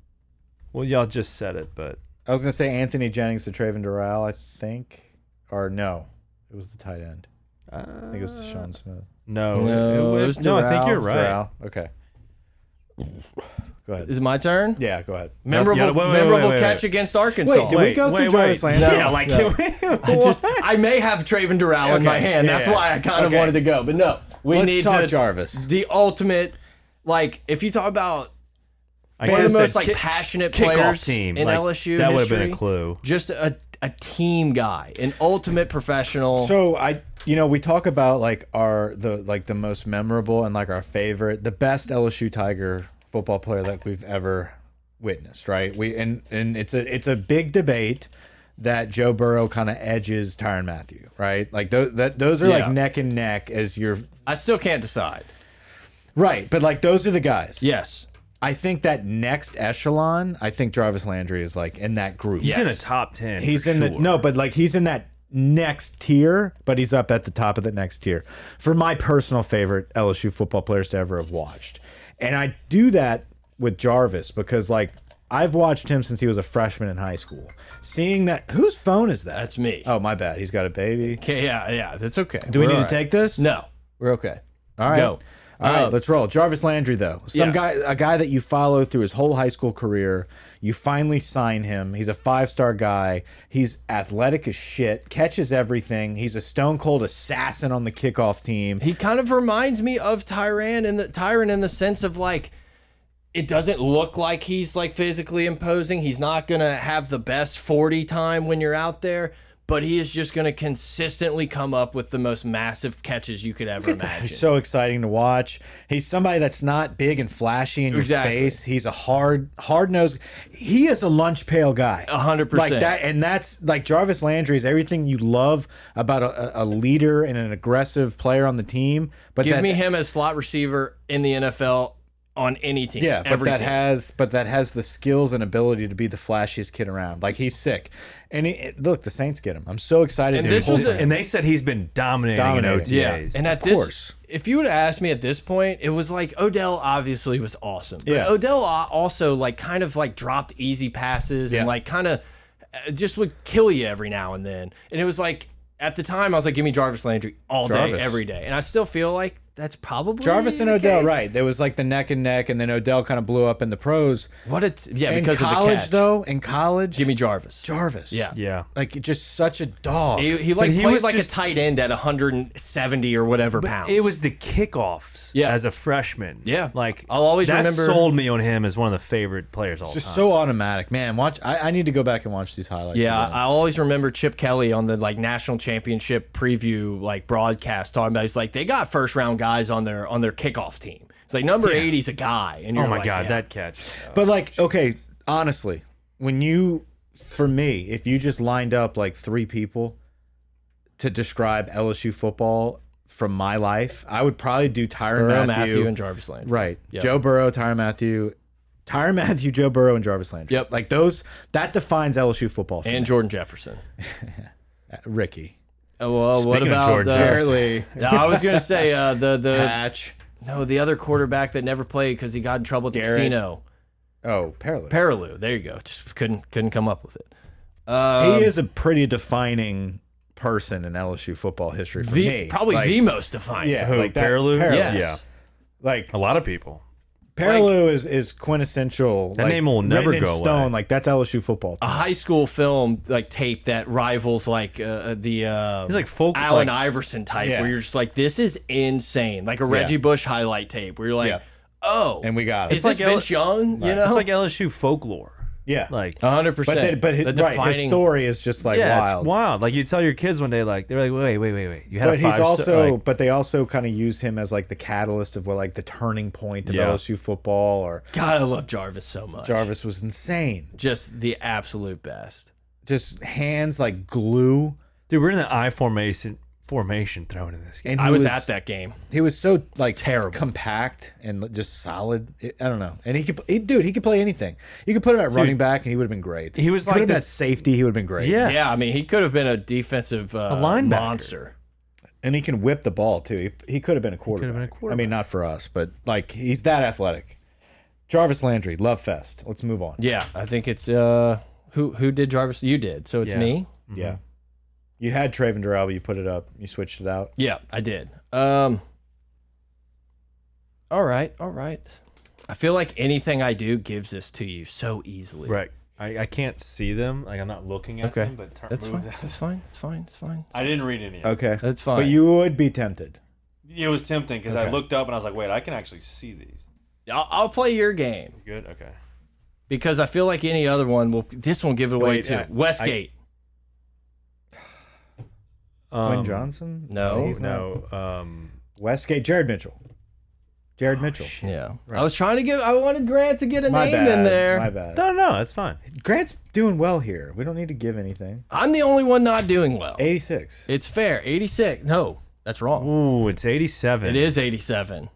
S4: Well, y'all just said it, but
S3: I was gonna say Anthony Jennings to Traven Durrell. I think, or no, it was the tight end.
S4: uh,
S3: I think it was Deshaun Smith.
S4: no,
S2: No,
S4: it-
S2: it
S4: it-
S2: was
S4: no, I think
S2: Durrell,
S4: you're
S3: It's
S4: right.
S3: Durrell. Okay. Go ahead.
S2: is it my turn?
S3: Yeah, go ahead.
S2: Memorable,
S4: Yeah, wait, wait, wait,
S2: memorable
S4: wait, wait.
S2: catch against Arkansas.
S3: Wait, did we
S4: Wait,
S3: go
S4: wait,
S3: through Jarvis
S4: wait.
S3: Landry?
S4: Yeah, like
S2: I just I may have Traven Durrell in
S3: Okay,
S2: my hand. That's
S3: yeah,
S2: why I kind of
S3: okay.
S2: wanted to go, but no, we
S3: Let's
S2: need
S3: talk
S2: to
S3: Jarvis.
S2: The ultimate, like if you talk about
S4: I
S2: one of
S4: guess
S2: the most
S4: that
S2: like
S4: kick-
S2: passionate
S4: kickoff
S2: players
S4: team
S2: in
S4: like,
S2: LSU
S4: That would have
S2: history,
S4: been a clue.
S2: Just a a team guy, an ultimate professional.
S3: So I, you know, we talk about like our the like the most memorable and like our favorite, the best LSU Tiger football player that we've ever witnessed, right? We and and it's a it's a big debate that Joe Burrow kind of edges Tyron Matthew, right? Like those that those are
S2: Yeah.
S3: like neck and neck as your
S2: I still can't decide.
S3: right, but like those are the guys.
S2: Yes,
S3: I think that next echelon, I think Jarvis Landry is like in that group.
S4: He's in a top ten.
S3: He's
S4: for
S3: in the
S4: sure.
S3: no, but like he's in that next tier, but he's up at the top of the next tier. For my personal favorite LSU football players to ever have watched. And I do that with Jarvis because like I've watched him since he was a freshman in high school. Seeing that whose phone is that?
S2: that's me.
S3: Oh my bad. He's got a baby.
S2: Okay, yeah, yeah, that's okay.
S3: Do we need
S2: We're
S3: to
S2: all right.
S3: take this?
S2: No, we're okay.
S3: All right.
S2: Go.
S3: All right,
S2: Um,
S3: let's roll. Jarvis Landry, though, some
S2: Yeah.
S3: guy, a guy that you follow through his whole high school career. You finally sign him. He's a five-star guy. He's athletic as shit. Catches everything. He's a stone cold assassin on the kickoff team.
S2: He kind of reminds me of Tyran in the Tyran in the sense of like it doesn't look like he's like physically imposing. He's not gonna have the best 40 time when you're out there, but he is just gonna consistently come up with the most massive catches you could ever imagine.
S3: He's so exciting to watch. He's somebody that's not big and flashy in your
S2: Exactly.
S3: face. He's a hard, hard nosed. He is a lunch pail guy.
S2: A hundred
S3: Like
S2: percent.
S3: that, and that's like Jarvis Landry is everything you love about a, a- a leader and an aggressive player on the team. But
S2: Give
S3: that,
S2: me him as slot receiver in the NFL on any team.
S3: Yeah, but
S2: every
S3: that
S2: team.
S3: has but that has the skills and ability to be the flashiest kid around. Like he's sick, and he, look, the Saints get him. I'm so excited.
S2: And
S3: to
S2: this was a-
S3: behold him.
S4: And they said he's been dominating,
S3: Dominating.
S4: in
S2: Yeah,
S4: OTAs.
S2: and at
S3: Of
S2: this,
S3: course.
S2: if you would have asked me at this point, it was like Odell obviously was awesome, but
S3: Yeah.
S2: Odell a- also like kind of like dropped easy passes
S3: Yeah.
S2: and like kind of uh, just would kill you every now and then. And it was like at the time I was like, give me Jarvis Landry all
S3: Jarvis.
S2: day, every day, and I still feel like that's probably
S3: Jarvis and
S2: the
S3: Odell,
S2: case.
S3: right? There was like the neck and neck, and then Odell kind of blew up in the pros.
S2: What it's yeah
S3: in
S2: because
S3: college,
S2: of the catch.
S3: though, in college,
S2: Give me Jarvis.
S3: Jarvis.
S2: Yeah.
S4: yeah.
S3: like just such a dog.
S2: He, he like
S4: he
S2: played
S4: was
S2: like
S4: just-
S2: a tight end at 170 or whatever pounds.
S4: It was the kickoffs
S2: Yeah.
S4: as a freshman.
S2: Yeah.
S4: Like
S2: I'll always
S4: that
S2: remember-
S4: sold me on him as one of the favorite players all
S3: just
S4: time.
S3: so automatic, man. Watch, I, I need to go back and watch these highlights.
S2: Yeah,
S3: again.
S2: I always remember Chip Kelly on the like national championship preview like broadcast talking about he's like they got first round guys on their on their kickoff team. It's like number 80's a guy, and you're
S4: oh my
S2: like,
S4: god,
S2: yeah.
S4: that catch.
S3: But like, okay, honestly, when you for me, if you just lined up like three people to describe LSU football from my life, I would probably do Tyron
S2: Burrow,
S3: Matthew,
S2: Matthew, and Jarvis Landry.
S3: Right.
S2: Yep.
S3: Joe Burrow, Tyron Matthew, Tyron Matthew, Joe Burrow, and Jarvis Landry.
S2: Yep.
S3: Like those, that defines LSU football. For
S2: And
S3: me. Uh,
S2: Jordan Jefferson.
S3: Ricky.
S2: Oh, well, what
S4: Speaking of
S2: about
S4: Jordan
S2: the,
S4: Jefferson.
S3: Barely.
S2: No, I was gonna say uh, the the
S3: Patch.
S2: no the other quarterback that never played because he got in trouble at the
S3: Garrett.
S2: casino.
S3: Oh, Parallel.
S2: Paraloo. There you go. Just couldn't couldn't come up with it. Um,
S3: he is a pretty defining person in LSU football history for
S2: The
S3: me.
S2: probably
S3: Like,
S2: the most defined.
S3: yeah,
S4: Who,
S3: like that,
S4: Parallel?
S3: Parallel.
S2: Yes.
S4: Yeah.
S3: Like
S4: A lot of people.
S3: Parallel is is quintessential.
S4: That
S3: like,
S4: name will
S3: written
S4: never
S3: in
S4: go away. Uh,
S3: stone. Like that's LSU football.
S2: A high school film like tape that rivals like uh, the uh,
S4: He's like folk-
S2: Allen
S4: like-
S2: Iverson type
S3: Yeah.
S2: where you're just like this is insane like a Reggie Bush highlight tape where you're like
S3: Yeah.
S2: oh
S3: And we got it.
S2: is this
S4: like L-
S2: Vince Young you
S4: It's
S2: know Oh,
S4: like LSU folklore.
S3: yeah,
S4: Like,
S2: hundred
S3: but then,
S2: percent
S3: but
S2: the
S3: his, right, his
S2: defining
S3: story is just like
S4: yeah,
S3: wild.
S4: it's wild. Like you tell your kids one day, like they're like, wait, wait, wait, wait. You had
S3: But
S4: a
S3: he's
S4: five
S3: also,
S4: like,
S3: but they also kind of use him as like the catalyst of what, like the turning point of
S4: Yeah.
S3: LSU football. Or
S2: God I love Jarvis so much
S3: Jarvis was insane,
S2: just the absolute best
S3: just hands like glue.
S4: dude, we're in the I formation formation thrown in this game.
S3: And he
S2: I was, at that game
S3: He was so like
S2: Terrible.
S3: compact and just solid. I I don't know. And he could, he, dude, he could play anything. You could put him at running back, and he would have been great.
S4: he was
S3: Put
S4: like
S3: him
S4: the-
S3: at safety, he would have been great.
S4: Yeah.
S2: yeah I mean he could have been a defensive uh,
S4: linebacker.
S2: monster
S3: and he can whip the ball too. He, he could have been a quarterback.
S4: been a
S3: I mean, not for us, but like he's that athletic. Jarvis Landry, love fest. Let's move on.
S2: yeah I think it's uh who who did Jarvis you did so it's
S4: Yeah.
S2: me
S3: Yeah. You had Traven Durrell, but you put it up. You switched it out.
S2: Yeah, I did. Um All right, all right. I feel like anything I do gives this to you so easily.
S4: Right. I, I can't see them. Like I'm not looking at
S2: Okay.
S4: them. But turn,
S2: That's
S4: move
S2: fine.
S4: that.
S2: That's fine. That's fine. That's fine.
S4: I didn't read any. Of it.
S3: Okay.
S2: That's fine.
S3: But you would be tempted.
S4: It was tempting because
S3: Okay.
S4: I looked up and I was like, wait, I can actually see these.
S2: I'll, I'll play your game
S4: Good. Okay.
S2: because I feel like any other one will this one give it away
S4: Wait,
S2: too.
S4: I-
S2: Westgate.
S4: Um,
S3: Quinn Johnson?
S2: no,
S3: he's not.
S4: No. Um.
S3: Westgate, Jared Mitchell. Jared Mitchell.
S2: yeah. I was trying to give I wanted Grant to get a name in there.
S3: My bad.
S4: No, no, that's fine.
S3: Grant's doing well here. We don't need to give anything.
S2: I'm the only one not doing well.
S3: 86.
S2: It's fair. 86. No, that's wrong.
S4: Ooh, it's
S2: It
S4: 87.
S2: is 87.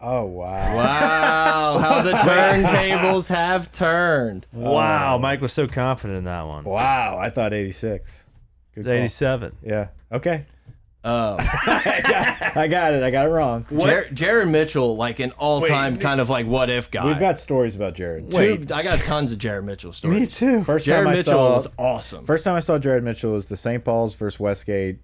S3: Oh, wow.
S2: Wow, Oh, how the turntables have turned. Oh.
S4: Wow, Mike was so confident in that one.
S3: Wow. I thought 86. Good
S4: It's
S3: call.
S4: 87.
S3: Yeah. Okay.
S2: Um,
S3: I got it. I got it wrong.
S2: Jar Jared Mitchell, like an all-time kind of like what if guy.
S3: We've got stories about Jared.
S2: Two- I got tons of Jared Mitchell stories.
S4: too.
S3: First
S2: Jared
S3: time I
S2: Mitchell
S3: saw
S2: was awesome,
S3: First time I saw Jared Mitchell was the St. Paul's versus Westgate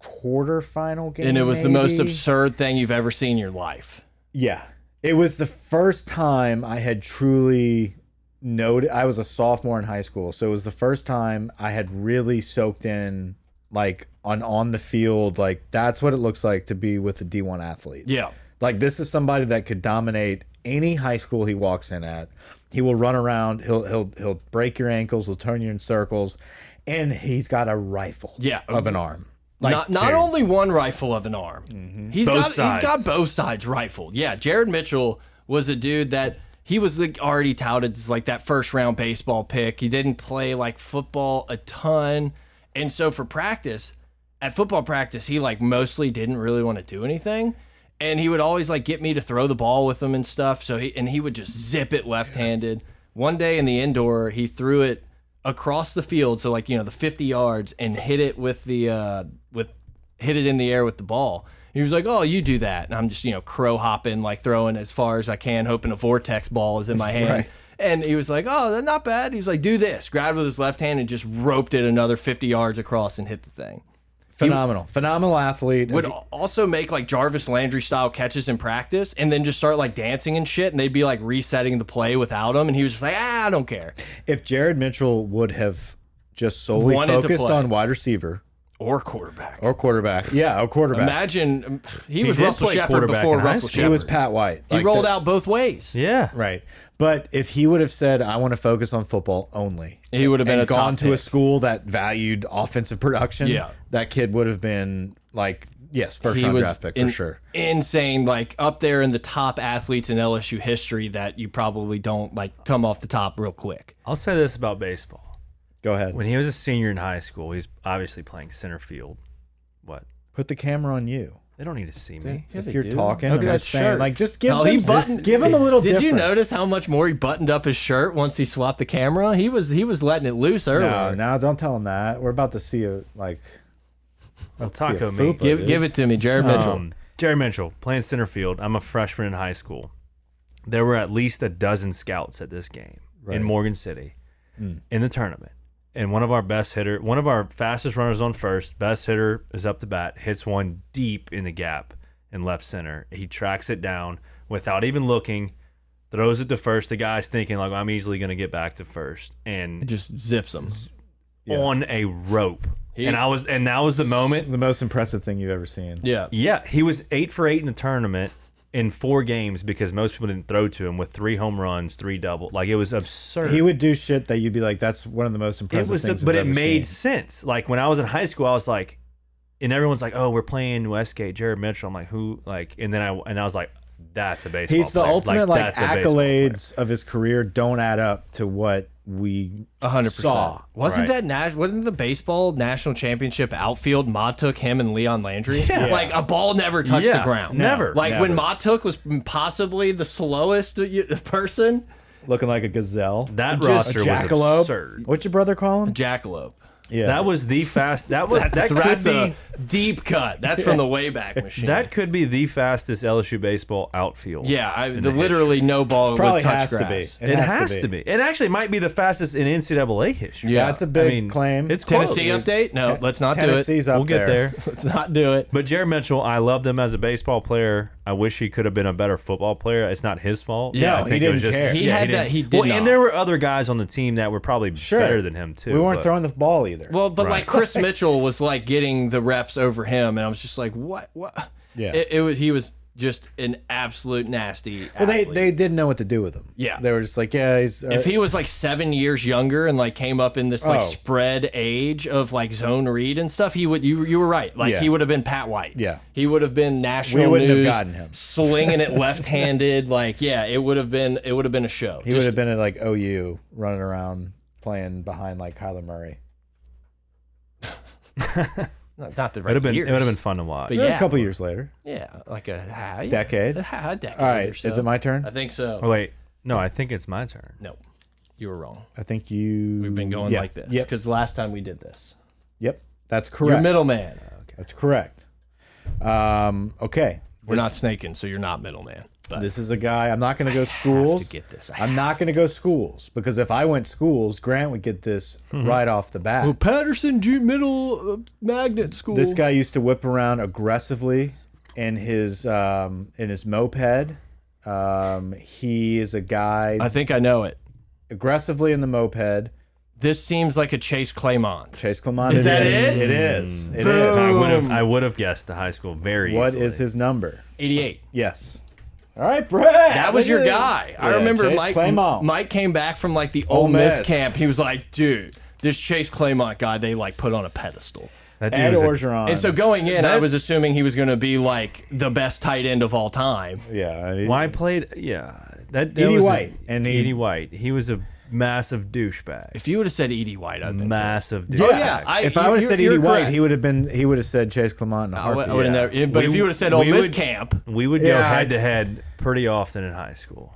S3: quarterfinal game,
S2: and it was the most
S3: maybe?
S2: absurd thing you've ever seen in your life.
S3: Yeah, it was the first time I had truly noted. I was a sophomore in high school, so it was the first time I had really soaked in, like on on the field, like that's what it looks like to be with a D one athlete.
S2: Yeah,
S3: Like this is somebody that could dominate any high school he walks in at. He will run around. He'll he'll he'll break your ankles. He'll turn you in circles, and he's got a rifle.
S2: Yeah.
S3: of an arm. Like Mm-hmm.
S2: not not only one rifle of an arm. He's
S4: Both
S2: got
S4: sides.
S2: he's got both sides rifled. Yeah, Jared Mitchell was a dude that he was like already touted as like that first round baseball pick. He didn't play like football a ton, and so for practice, at football practice, he like mostly didn't really want to do anything. And he would always like get me to throw the ball with him and stuff. So he and he would just zip it left handed. One day in the indoor, he threw it across the field, so like you know the fifty yards, and hit it with the uh, with hit it in the air with the ball. He was like, "Oh, you do that," and I'm just you know crow hopping, like throwing as far as I can, hoping a vortex ball is in my hand. And he was like, "Oh, that's not bad." He was like, "Do this." Grabbed with his left hand and just roped it another fifty yards across and hit the thing
S3: phenomenal, phenomenal athlete.
S2: would
S3: And-
S2: also make like Jarvis Landry style catches in practice and then just start like dancing and shit and they'd be like resetting the play without him and he was just like, "Ah, I don't care."
S3: if Jared Mitchell would have just solely
S2: Wanted to
S3: focused
S2: play.
S3: on wide receiver
S2: Or quarterback.
S3: or quarterback, yeah, or quarterback,
S2: Imagine um, he was
S4: did
S2: Russell
S4: play
S2: Shepard
S4: quarterback
S2: before
S4: in high
S2: Russell
S4: school.
S3: he
S2: Shepard.
S3: was Pat White.
S2: He
S3: Like,
S2: rolled
S3: the-
S2: out both ways.
S4: Yeah.
S3: right. But if he would have said, "I want to focus on football only,"
S2: He would have been
S3: and
S2: a top
S3: gone to a
S2: pick.
S3: school that valued offensive production,
S2: Yeah.
S3: that kid would have been like, yes, first
S2: He
S3: round
S2: was
S3: draft pick
S2: in-
S3: for sure.
S2: insane, like up there in the top athletes in LSU history that you probably don't like come off the top real quick.
S4: I'll say this about baseball.
S3: Go ahead.
S4: When he was a senior in high school, he's obviously playing center field. What?
S3: Put the camera on you.
S4: They don't need to see me.
S5: Yeah,
S3: if
S5: they
S3: you're
S5: do.
S3: talking,
S5: Look
S3: I'm
S5: at
S3: just
S5: that
S3: saying,
S5: shirt.
S3: like, just give
S2: Hell,
S3: them,
S2: he buttoned-
S3: give them a little.
S2: Did you
S3: different.
S2: notice how much more he buttoned up his shirt once he swapped the camera? He was he was letting it loose earlier.
S3: No, no, don't tell him that. We're about to see a like.
S4: Well,
S3: see a
S4: taco meat.
S3: fupa, Uh,
S2: give
S3: dude.
S2: give it to me, Jared Mitchell.
S4: Um, Jerry Mitchell playing center field. I'm a freshman in high school. There were at least a dozen scouts at this game in Morgan City
S3: Hmm.
S4: in the tournament. And one of our best hitter, one of our fastest runners on first, best hitter is up to bat, hits one deep in the gap in left center. He tracks it down without even looking, throws it to first. The guy's thinking like I'm easily going to get back to first, and
S2: just zips him.
S4: on a rope.
S2: He-
S4: and I was, and that was the moment
S3: The most impressive thing you've ever seen.
S2: Yeah.
S4: yeah, he was eight for eight in the tournament in four games because most people didn't throw to him with three home runs, three double. Like it was absurd.
S3: He would do shit that you'd be like, "That's one of the most
S4: it
S3: impressive
S4: was,
S3: things."
S4: but
S3: I've
S4: it
S3: ever
S4: made
S3: seen."
S4: sense. Like when I was in high school, I was like, and everyone's like, "Oh, we're playing Westgate, Jared Mitchell." I'm like, "Who?" Like, and then I and I was like, "That's a baseball."
S3: He's the
S4: player.
S3: ultimate like,
S4: that's a baseball player.
S3: accolades of his career don't add up to what we
S2: A hundred percent.
S3: Saw.
S2: Wasn't
S4: Right.
S2: that Nash? Wasn't the baseball national championship outfield? Ma took him and Leon Landry. Like a ball never touched
S4: Yeah.
S2: the ground.
S4: Never.
S2: Like when
S3: Never.
S2: Ma took was possibly the slowest uh, y- person.
S3: looking like a gazelle.
S4: That
S3: a
S4: roster was
S3: jackalope.
S4: absurd.
S3: What's your brother call him?
S2: Jackalope.
S3: Yeah,
S4: That was the fast. That was
S2: That's,
S4: that could
S2: that's
S4: be
S2: a deep cut. That's from the Wayback Machine.
S4: that could be the fastest LSU baseball outfield.
S2: yeah, I,
S4: in
S2: the
S4: the history.
S2: literally no ball
S3: probably
S2: would touch
S3: has to be.
S2: grass.
S4: It, has, to, be. It actually might be the fastest in NCAA history.
S2: Yeah.
S3: That's a big
S4: I mean,
S3: claim.
S4: It's close.
S2: Tennessee update? No, let's not do it.
S3: Tennessee's up
S4: We'll get there.
S2: Let's not do it.
S4: But Jared Mitchell, I loved him as a baseball player. I wish he could have been a better football player. It's not his fault.
S2: Yeah,
S4: I
S2: he
S4: think it was
S3: didn't
S4: just
S3: care.
S2: He
S4: yeah,
S2: had that-
S4: didn't-
S2: he did
S4: Well,
S2: not.
S4: and there were other guys on the team that were probably
S3: Sure.
S4: better than him too.
S3: We weren't
S4: but-
S3: throwing the ball either.
S2: Well, but like Chris Mitchell was like getting the reps over him, and I was just like, what? What?
S3: Yeah.
S2: It, it was. He was just an absolute nasty.
S3: Well, they,
S2: athlete.
S3: they didn't know what to do with him.
S2: Yeah.
S3: they were just like, yeah, he's.
S2: If he was like seven years younger and like came up in this like
S3: Oh.
S2: spread age of like zone read and stuff, he would you you were right. Like
S3: Yeah.
S2: he would have been Pat White.
S3: Yeah.
S2: he would have been national.
S3: wouldn't have
S2: news,
S3: gotten him.
S2: slinging it left handed. like yeah, it would have been it would have been a show.
S3: he would have been at like OU running around playing behind like Kyler Murray.
S2: not, not the
S4: It would
S2: right
S4: have been.
S2: years,
S4: It would have been fun to watch.
S2: But
S3: Yeah,
S2: yeah,
S3: a couple years later,
S2: yeah, like a half,
S3: decade.
S2: a half decade.
S3: All
S2: or
S3: right,
S2: so.
S3: is it my turn?
S2: I think so.
S4: Oh, wait, no, I think it's my turn.
S2: No, you were wrong.
S3: I think you.
S2: We've been going
S3: Mm, Yeah.
S2: like this
S3: Yep,
S2: because last time we did this,
S3: yep, that's
S2: you're
S3: correct.
S2: middleman.
S3: That's correct. Um, okay,
S2: We're not snaking, so you're not middleman. But
S3: This is a guy. I'm not going to go schools.
S2: get this. I
S3: I'm not going to go schools because if I went schools, Grant would get this
S2: Mm-hmm.
S3: right off the bat.
S2: Patterson Junior Middle uh, Magnet School.
S3: This guy used to whip around aggressively in his um, in his moped. Um, he is a guy
S2: I think I know it.
S3: aggressively in the moped.
S2: This seems like a Chase Claymont.
S3: Chase Clement.
S2: Is that
S3: is.
S2: it?
S3: It is. It is.
S4: I would have. I would have guessed the high school very.
S3: What
S4: easily.
S3: is his number?
S2: 88.
S3: Yes. All right, Brad.
S2: That was
S3: look
S2: your
S3: at it.
S2: guy. I
S3: Yeah,
S2: remember
S3: Chase
S2: Mike.
S3: Clement.
S2: Mike came back from like the
S3: Ole
S2: Ole Miss,
S3: Miss.
S2: camp. He was like, dude, this Chase Claymont guy, they like put on a pedestal.
S4: That dude
S3: Ed
S4: was a-
S3: Orgeron.
S2: And so going in, I was assuming he was going to be like the best tight end of all time.
S3: yeah. I-
S4: Why I played? Yeah, that. that
S3: Edie
S4: was a-
S3: White, and he-
S4: Edie White. He was a massive douchebag.
S2: If you would have said Edie White, I'd been
S4: Massive douchebag.
S2: Oh, yeah, I-
S3: If I
S2: you-
S3: would have
S2: you're-
S3: said
S2: you're
S3: Edie White,
S2: correct.
S3: he would have been. He would have said Chase Clement. In a
S4: Uh,
S2: I would,
S3: heartbeat.
S2: have
S4: Yeah.
S2: never. yeah, But
S4: We
S2: if you
S4: would-
S2: would have said Ole
S4: we
S2: Miss
S4: would-
S2: camp,
S4: We would
S3: Yeah,
S4: go
S3: I-
S4: head to head pretty often in high school.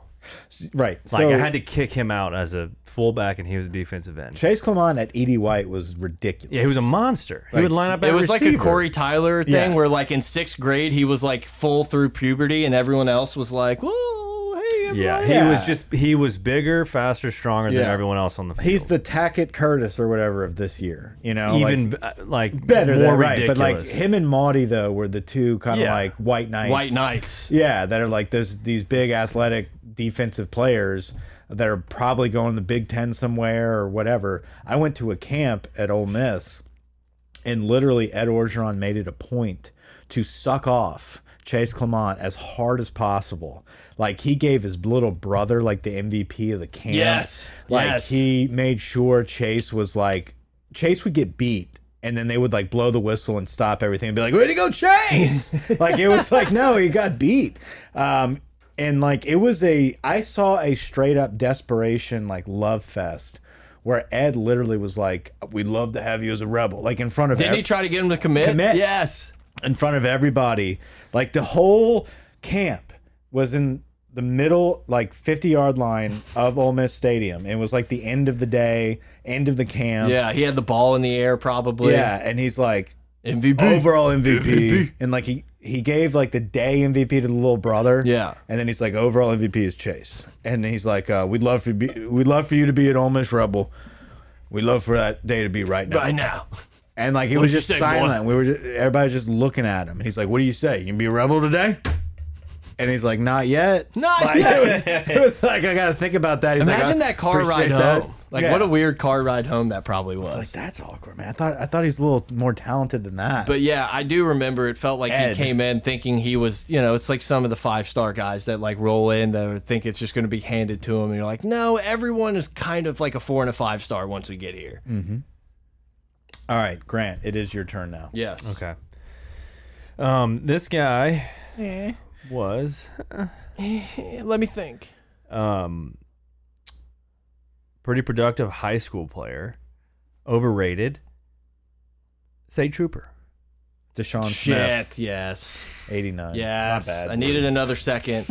S3: Right.
S4: Like
S3: so
S4: I had to kick him out as a fullback, and he was a defensive end.
S3: Chase Clement at Edie White was ridiculous.
S4: Yeah, he was a monster. he would line up.
S2: it
S4: at
S2: was like a
S4: receiver.
S2: Corey Tyler thing
S3: Yes.
S2: where, like, in sixth grade, he was like full through puberty, and everyone else was like, "Whoa, hey,
S4: Yeah,
S2: everybody."
S4: he
S3: Yeah.
S4: was just he was bigger, faster, stronger than
S2: Yeah.
S4: everyone else on the field.
S3: He's the Tackett Curtis or whatever of this year. You know, like,
S4: even b- uh, like
S3: better
S4: more
S3: than right. But
S4: ridiculous.
S3: like him and Maudie though were the two kind of
S4: Yeah.
S3: like white knights.
S2: White Knights.
S3: Yeah, that are like those these big athletic defensive players that are probably going to the Big Ten somewhere or whatever. I went to a camp at Ole Miss, and literally Ed Orgeron made it a point to suck off Chase Clement as hard as possible. Like he gave his little brother like the MVP of the camp.
S2: Yes,
S3: Like
S2: yes.
S3: he made sure Chase was like Chase would get beat. And then they would like blow the whistle and stop everything and be like, "Way to go, Chase!" like it was like, no, he got beat. Um, and like it was a, I saw a straight up desperation like love fest where Ed literally was like, "We'd love to have you as a rebel," like in front of
S2: Didn't
S3: ev-
S2: he try to get him to commit?
S3: Commit.
S2: Yes.
S3: in front of everybody. Like the whole camp was in the middle, like 50 yard line of Ole Miss Stadium. It was like the end of the day, end of the camp.
S2: Yeah, he had the ball in the air probably.
S3: Yeah. And he's like,
S2: MVP.
S3: overall MVP. And like he, he gave like the day MVP to the little brother.
S2: Yeah.
S3: And then he's like, overall MVP is Chase. And then he's like, uh, we'd love for you be, we'd love for you to be an Ole Miss Rebel. We'd love for that day to be right now.
S2: Right now.
S3: And like it
S2: What'd
S3: was
S2: you
S3: just
S2: say, boy?
S3: silent. We were just, everybody was just looking at him, and he's like, "What do you say? You gonna be a rebel today?" And he's like, "Not yet."
S2: Not
S3: Like,
S2: yet.
S3: It was, it was like I gotta think about that. He's
S2: Imagine
S3: like, "I
S2: that car
S3: appreciate
S2: ride
S3: that."
S2: home. Like
S3: Yeah.
S2: what a weird car ride home that probably was.
S3: Like that's awkward, man. I thought I thought he's a little more talented than that.
S2: But yeah, I do remember it felt like he
S3: Ed.
S2: came in thinking he was, you know, it's like some of the five star guys that like roll in that think it's just going to be handed to them. And you're like, no, everyone is kind of like a four and a five star once we get here.
S4: Mm.
S3: all right, Grant, it is your turn now.
S2: Yes.
S4: Okay. Um, this guy
S3: Eh.
S4: was
S2: Let me think.
S4: um pretty productive high school player, overrated, state trooper.
S3: Deshaun Smith,
S2: Shit. Yes.
S3: eighty nine.
S2: Yes.
S3: not bad.
S2: I needed another second.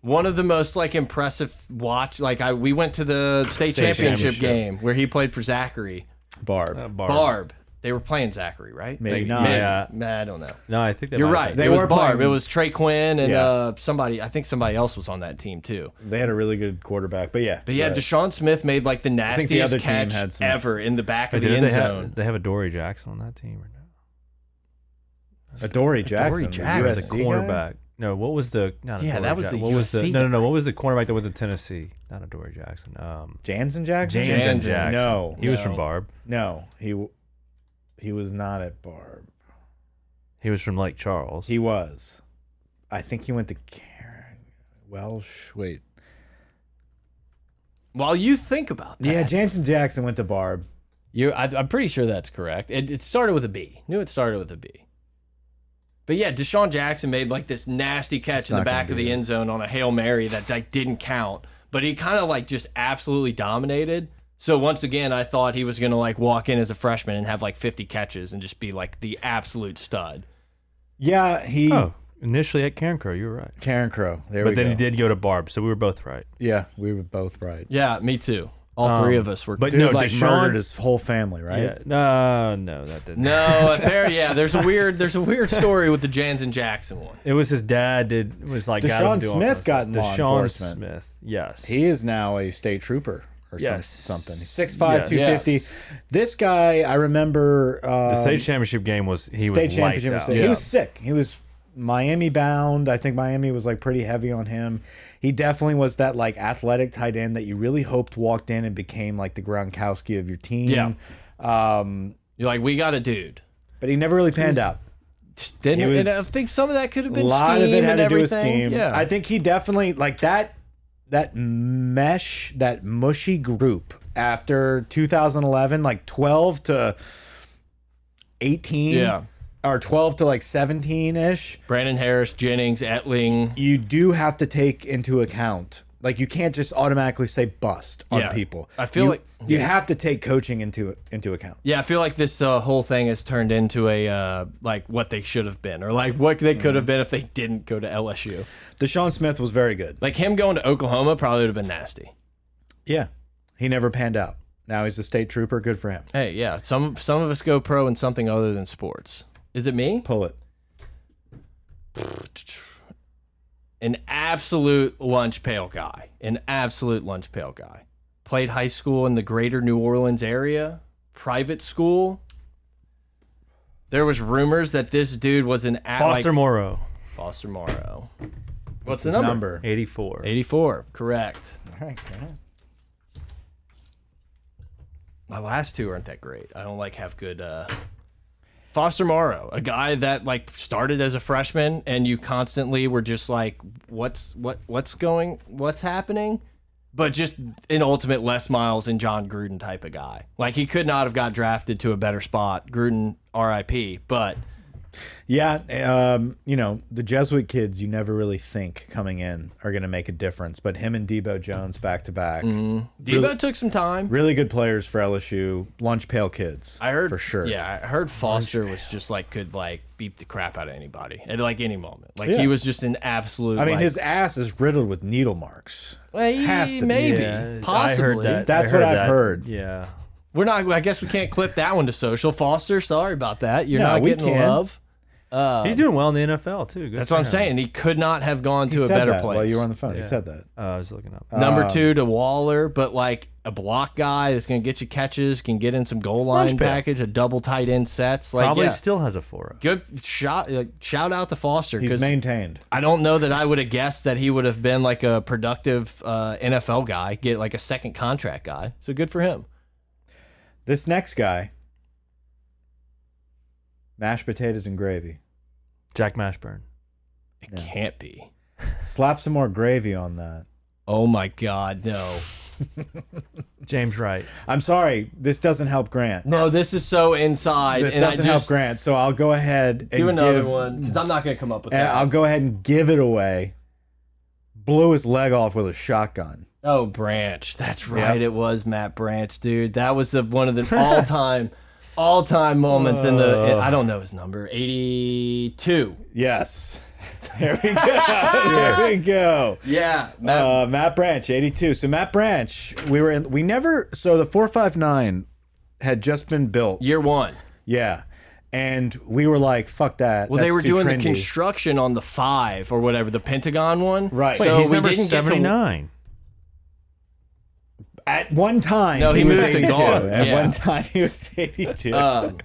S2: One of the most like impressive watch. Like I, we went to the state,
S4: State
S2: championship,
S4: championship.
S2: game where he played for Zachary
S3: Barb.
S2: Oh,
S4: Uh, Barb.
S2: Barb. They were playing Zachary, right?
S3: Maybe
S4: they-
S3: not.
S4: yeah.
S2: Nah, I don't know.
S4: No, I think that
S2: You're
S4: might
S2: right.
S4: have
S3: They
S2: it was
S3: were
S2: Barb. It
S3: playing-
S2: was Trey Quinn and
S3: Yeah.
S2: uh, somebody. I think somebody else was on that team too.
S3: They had a really good quarterback, but yeah.
S2: But yeah,
S3: right.
S2: Deshaun Smith made like the
S3: think
S2: nastiest
S3: the other team
S2: catch
S3: had some-
S2: ever in the back
S4: been.
S2: of
S4: Didn't
S2: the end
S4: they have-
S2: zone.
S4: they have a Dory Jackson on that team right now.
S3: Adoree Jackson,
S2: Adoree Jackson,
S3: the
S4: was the
S3: USC guy?
S4: cornerback. No, what was the? Not
S2: Yeah,
S4: Adoree
S2: that was the
S4: Jack- what was the?
S2: USC
S4: No, no, no. What was the cornerback that went to Tennessee? Not Adoree Jackson. Um,
S3: Jansen Jackson.
S4: Jansen,
S2: Jansen.
S4: Jackson.
S3: No,
S4: he was from
S2: No.
S4: Barb.
S3: No, he w- he was not at Barb.
S4: He was from Lake Charles.
S3: He was. I think he went to Karen Welsh. Wait.
S2: While you think about that,
S3: Yeah, Jansen Jackson went to Barb.
S2: you, I, I'm pretty sure that's correct. It, it started with a B. Knew it started with a B. But yeah, Deshaun Jackson made like this nasty catch in the
S3: not gonna
S2: back of
S3: be
S2: the
S3: it.
S2: end zone on a hail mary that like didn't count. But he kind of like just absolutely dominated. So once again, I thought he was gonna like walk in as a freshman and have like 50 catches and just be like the absolute stud.
S3: Yeah, he
S4: oh, initially at Karen Crow. You were right.
S3: Karen Crow. There we
S4: But then
S3: go.
S4: he did go to Barb, so we were both right.
S3: Yeah, we were both right.
S2: Yeah, me too. All three of us were.
S4: But
S3: Dude,
S4: no,
S3: like murdered
S4: Deshaun.
S3: his whole family, right?
S4: Yeah, no, no, that didn't.
S2: no, there, yeah. There's a weird, there's a weird story with the Jansen Jackson one.
S4: It was his dad did was like got him
S3: Deshaun
S4: to do all
S3: Smith
S4: kinds of
S3: got
S4: stuff.
S3: in law
S4: Deshaun
S3: enforcement.
S4: Smith, yes,
S3: He is now a state trooper or some-
S4: Yes.
S3: something. He's 6'5",
S4: Yes.
S3: 250. This guy, I remember uh
S4: the state championship game was
S3: state
S4: he was lights
S3: championship.
S4: out.
S3: state- He was sick. He was Miami bound. I think Miami was like pretty heavy on him. He definitely was that like athletic tight end that you really hoped walked in and became like the Gronkowski of your team.
S2: Yeah.
S3: Um,
S2: You're like, we got a dude.
S3: but he never really panned out.
S2: Didn't
S3: It
S2: and I
S3: was-
S2: think some of that could have
S3: A
S2: been
S3: lot of
S2: scheme
S3: it had
S2: and
S3: to do with
S2: everything.
S3: scheme.
S2: Yeah,
S3: I think he definitely like that that mesh, that mushy group after 2011, like 12 to 18
S2: Yeah.
S3: or 12 to like 17 ish.
S2: Brandon Harris, Jennings, Etling.
S3: you do have to take into account like you can't just automatically say bust on
S2: Yeah.
S3: people.
S2: I feel
S3: You-
S2: like-
S3: you have to take coaching into into account.
S2: Yeah, I feel like this uh, whole thing has turned into a uh, like what they should have been, or like what they could have been if they didn't go to LSU.
S3: Deshaun Smith was very good.
S2: Like him going to Oklahoma probably would have been nasty.
S3: Yeah, he never panned out. Now he's a state trooper. Good for him.
S2: Hey, yeah, some some of us go pro in something other than sports. Is it me?
S3: Pull it.
S2: an absolute lunch pail guy, an absolute lunch pail guy. Played high school in the greater New Orleans area, private school. There was rumors that this dude was an at,
S4: Foster
S2: like,
S4: Morrow,
S2: Foster Morrow. What's the
S3: His
S2: number?
S3: number.
S4: eighty four.
S2: 84, correct.
S3: All right, Grant.
S2: My last two aren't that great. I don't like have good uh Foster Morrow, a guy that like started as a freshman and you constantly were just like what's what what's going what's happening? But just an ultimate Les Miles and John Gruden type of guy. Like he could not have got drafted to a better spot. Gruden RIP, but
S3: Yeah, um, you know, the Jesuit kids you never really think coming in are going to make a difference, but him and Debo Jones back to back.
S2: Mm-hmm. Debo took some time.
S3: Really good players for LSU. Lunch pail kids.
S2: I heard
S3: for sure.
S2: Yeah, I heard Foster was just like could like beat the crap out of anybody at like any moment. Like
S3: Yeah.
S2: he was just an absolute.
S3: I mean,
S2: like,
S3: his ass is riddled with needle marks.
S2: well,
S3: has to be.
S2: maybe
S4: Yeah,
S2: possibly.
S4: I heard that.
S3: That's
S4: I heard
S3: what I've
S4: that.
S3: heard.
S4: Yeah.
S2: We're not. I guess we can't clip that one to social. Foster, sorry about that. You're
S3: No,
S2: not
S3: we
S2: getting the
S3: can.
S2: love.
S4: He's doing well in the NFL too. Good
S2: That's
S4: for
S2: what I'm
S4: him.
S2: saying. He could not have gone
S3: He
S2: to a
S3: said
S2: better
S3: that
S2: place.
S3: while you were on um, the phone. He said that.
S4: Uh, I was looking up.
S2: Number two to Waller, but like a block guy that's gonna get you catches, can get in some goal line
S4: Lunch pail.
S2: package, a double tight end sets. Like
S4: Probably
S2: yeah.
S4: still has a four.
S2: good shot. Like, shout out to Foster
S3: He's
S2: because
S3: maintained.
S2: I don't know that I would have guessed that he would have been like a productive uh, NFL guy, get like a second contract guy. So good for him.
S3: This next guy, mashed potatoes and gravy.
S4: Jack Mashburn.
S2: It can't be.
S3: Slap some more gravy on that.
S2: Oh my God, no.
S4: James Wright.
S3: I'm sorry, this doesn't help Grant.
S2: No, this is so inside.
S3: This
S2: and I
S3: doesn't help
S2: just
S3: Grant, so I'll go ahead and
S2: do another
S3: give,
S2: one because I'm not going to come up with
S3: and
S2: that.
S3: I'll go ahead and give it away. Blew his leg off with a shotgun.
S2: Oh, Branch. That's right. It was Matt Branch, dude. That was the one of the all time, all time moments in the.
S3: Uh.
S2: I don't know his number. 82.
S3: Yes. There we go. there we go.
S2: Yeah. Matt,
S3: Uh, Matt Branch, 82. So Matt Branch, we were in we never so the 459 had just been built.
S2: year one.
S3: Yeah. And we were like, fuck that.
S2: Well, they
S3: that's
S2: were
S3: too
S2: doing
S3: trendy.
S2: the construction on the five or whatever, the Pentagon one.
S3: Right.
S4: Wait,
S3: So
S4: he's number
S2: didn't get to-
S4: seventy nine.
S3: At one time,
S2: No, he
S3: was
S2: moved to
S3: 82.
S2: Gone.
S3: At
S2: Yeah.
S3: one time, he was 82.
S2: Um,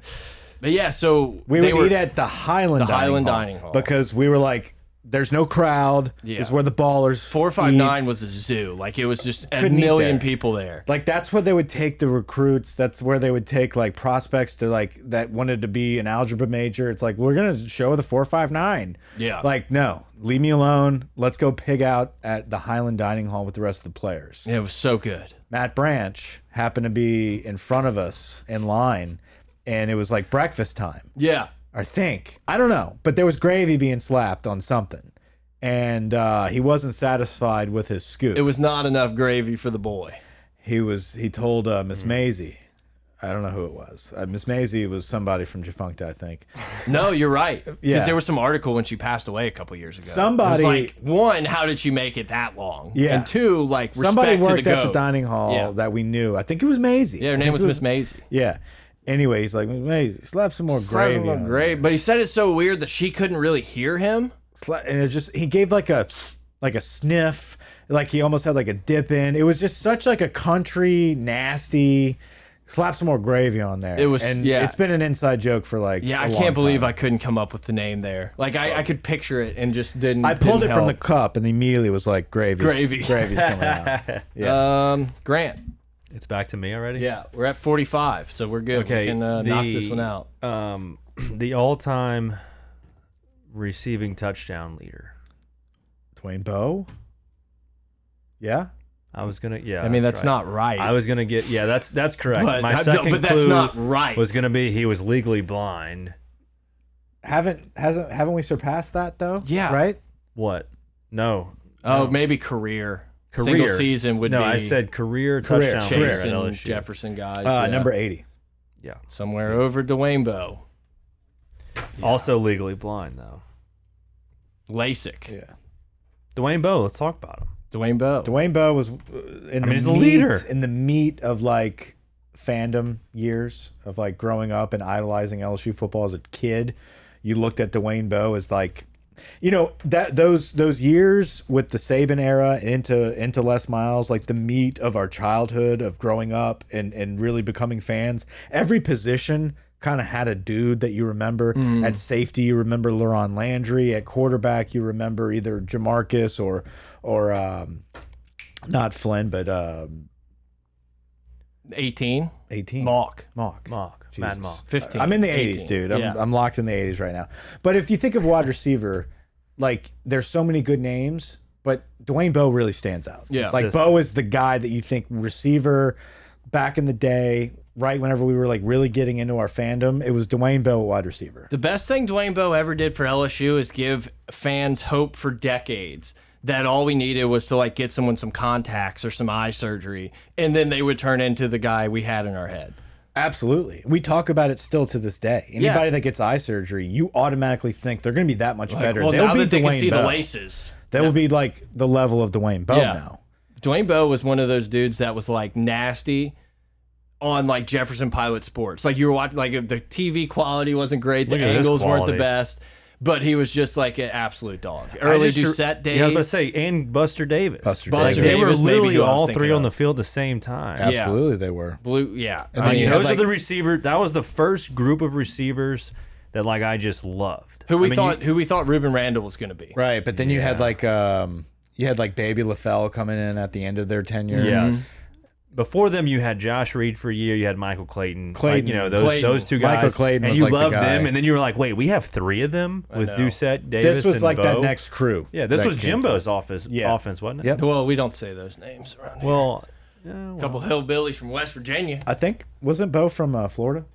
S2: but yeah, so
S3: we
S2: they
S3: would
S2: were,
S3: eat at the Highland,
S2: The
S3: dining,
S2: Highland
S3: hall
S2: Dining Hall.
S3: because we were like, "There's no crowd.
S2: Yeah.
S3: It's where the ballers
S2: four five
S3: eat."
S2: nine was a zoo. Like it was just a
S3: Couldn't eat
S2: million
S3: there.
S2: people there.
S3: Like that's where they would take the recruits. That's where they would take like prospects to like that wanted to be an algebra major. It's like we're gonna show the four five nine.
S2: Yeah.
S3: Like no, leave me alone. Let's go pig out at the Highland Dining Hall with the rest of the players.
S2: It was so good.
S3: Matt Branch happened to be in front of us in line, and it was like breakfast time.
S2: Yeah.
S3: I think. I don't know, but there was gravy being slapped on something. And uh, he wasn't satisfied with his scoop.
S2: It was not enough gravy for the boy.
S3: he was he told uh,
S2: Hmm.
S3: Miss Maisie, I don't know who it was. Uh, Miss Maisie was somebody from Defunct, I think.
S2: No, you're right. Because
S3: Yeah.
S2: there was some article when she passed away a couple years ago.
S3: Somebody-
S2: It was like one, how did she make it that long?
S3: Yeah.
S2: And two, like
S3: somebody
S2: respect to
S3: worked
S2: the
S3: at the
S2: goat.
S3: dining hall
S2: Yeah.
S3: that we knew. I think it was Maisie.
S2: Yeah, her
S3: I
S2: name
S3: think
S2: was
S3: it
S2: Miss Maisie.
S3: Yeah. Anyway, he's like, Miss Maisie, slap some more gravy. on it."
S2: Great, but he said it so weird that she couldn't really hear him.
S3: Sla- And it just he gave like a like a sniff, like he almost had like a dip in. It was just such like a country nasty. Slap some more gravy on there.
S2: It was-
S3: and
S2: yeah.
S3: It's been an inside joke for like
S2: Yeah,
S3: I
S2: I can't believe I couldn't come up with the name there. Like I, I could picture it and just didn't.
S3: I pulled it
S2: didn't
S3: from the
S2: help.
S3: cup and immediately was like gravy
S2: Gravy.
S3: gravy's coming out.
S2: um Grant.
S4: It's back to me already.
S2: Yeah, we're at 45, so we're good.
S4: Okay.
S2: we can uh,
S4: the,
S2: knock this one out.
S4: Um, the all time receiving touchdown leader.
S3: Twain Bow. Yeah.
S4: I was gonna. Yeah.
S2: I mean, that's,
S4: right.
S2: not right.
S4: I was gonna get yeah. That's that's correct.
S2: But-
S4: My
S2: I- no,
S4: second
S2: but that's
S4: clue
S2: not right.
S4: was gonna be he was legally blind.
S3: Haven't hasn't haven't we surpassed that though?
S2: Yeah.
S3: Right?
S4: What? No,
S2: oh, maybe career.
S4: career
S2: Single season would
S4: no.
S2: be
S4: I said career,
S3: Career,
S4: touchdown
S3: career.
S4: leader
S2: Chase
S4: at
S2: and
S4: LSU.
S2: Jefferson guys.
S3: Uh,
S2: yeah.
S3: number eighty.
S4: Yeah.
S2: somewhere over Dwayne Bowe.
S4: Also legally blind though.
S2: LASIK.
S3: Yeah.
S4: Dwayne Bowe. Let's talk about him.
S2: Dwayne Bowe.
S3: Dwayne Bowe was uh, in the
S4: he's a
S3: meat,
S4: leader.
S3: in the meat of like fandom years of like growing up and idolizing LSU football as a kid. You looked at Dwayne Bowe as like, you know that those those years with the Saban era and into into Les Miles, like the meat of our childhood of growing up and and really becoming fans. Every position kind of had a dude that you remember
S4: Mm.
S3: at safety. You remember Leron Landry at quarterback. You remember either Jamarcus or or um, not Flynn, but um,
S2: 18.
S3: 18.
S2: Mock.
S3: Mock.
S4: Mock. Mad
S3: Jesus.
S4: Mock.
S2: 15.
S3: I'm in the
S2: 18.
S3: 80s, dude. I'm,
S2: Yeah.
S3: I'm locked in the 80s right now. But if you think of wide receiver, like there's so many good names, but Dwayne Bowe really stands out.
S2: Yeah.
S3: Like Bowe is the guy that you think receiver back in the day right whenever we were like really getting into our fandom, it was Dwayne Bell, wide receiver.
S2: The best thing Dwayne Bowe ever did for LSU is give fans hope for decades that all we needed was to like get someone some contacts or some eye surgery, and then they would turn into the guy we had in our head.
S3: Absolutely. We talk about it still to this day. Anybody that gets eye surgery, you automatically think they're going to be that much better.
S2: well,
S3: They'll
S2: now
S3: be
S2: that they can
S3: Dwayne
S2: see
S3: Bell.
S2: the laces.
S3: They will be like the level of Dwayne Bell
S2: Yeah.
S3: now.
S2: Dwayne Bowe was one of those dudes that was like nasty on like Jefferson Pilot Sports. Like you were watching, like the TV quality wasn't great, the
S4: Look at this
S2: angles weren't the
S4: quality.
S2: best, but he was just like an absolute dog.
S4: I
S2: Early
S4: just-
S2: Doucette days.
S4: Yeah, I was about to say, and Buster Davis.
S3: Buster Davis.
S4: Like, they were
S2: Davis may be
S4: literally
S2: who I was
S4: all
S2: thinking
S4: three on
S2: of.
S4: the field at the same time.
S2: Yeah.
S3: Absolutely, they were.
S2: blue. Yeah, I
S3: then
S2: mean,
S3: you
S4: Those
S3: had,
S4: are the receiver. That was the first group of receivers that like I just loved.
S2: who we
S4: I mean,
S2: thought
S4: you-
S2: who we thought Ruben Randall was going to be.
S3: Right, but then you had like um you had like Baby LaFell coming in at the end of their tenure.
S4: yes. Before them, you had Josh Reed for a year. You had Michael Clayton. Like,
S3: Clayton.
S4: you know those
S2: Clayton.
S4: those two guys.
S3: Michael Clayton
S4: and
S3: was
S4: you
S3: like the
S4: loved them,
S3: guy.
S4: and then you were like, wait, we have three of them with Doucette, Davis.
S3: This was
S4: and
S3: like that
S4: Bo.
S3: next crew.
S4: Yeah, this
S3: that
S4: was
S3: came
S4: Jimbo's office
S3: Yeah.
S4: offense, wasn't it?
S3: Yep.
S2: Well, we don't say those names around here.
S4: Well, yeah,
S2: A
S4: well,
S2: couple hillbillies from West Virginia.
S3: I think wasn't Bo from uh, Florida?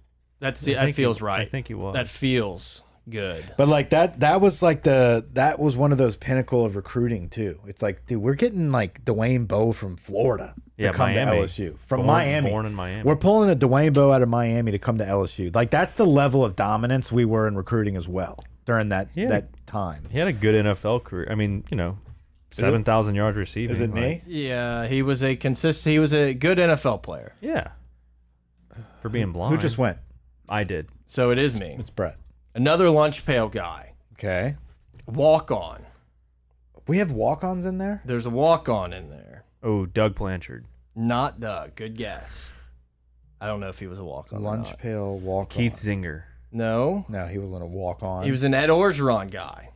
S2: That's the, that
S4: think he-
S2: feels
S4: I
S2: right.
S4: think he was.
S2: That feels good.
S3: But like that that was like the that was one of those pinnacle of recruiting too. It's like, dude, we're getting like Dwayne Bowe from Florida to
S4: Yeah,
S3: come
S4: Miami.
S3: to LSU. From
S4: Born-
S3: Miami.
S4: born in Miami.
S3: We're pulling a Dwayne Bowe out of Miami to come to LSU. Like that's the level of dominance we were in recruiting as well during that
S4: Yeah.
S3: that time.
S4: he had a good NFL career. I mean, you know, seven thousand yards receiving. like-
S2: Yeah, he was a consist. He was a good NFL player.
S4: Yeah. For being blind.
S3: Who just went?
S4: I did.
S2: So it is me.
S3: It's Brett.
S2: Another lunch pail guy.
S3: Okay.
S2: Walk on.
S3: We have walk-ons in there.
S2: There's a walk on in there.
S4: Oh, Doug Blanchard.
S2: Not Doug. Good guess. I don't know if he was a walk on.
S3: Lunch pail walk.
S4: Keith Zinger.
S2: No.
S3: No, he wasn't a walk-on.
S2: He was an Ed Orgeron guy.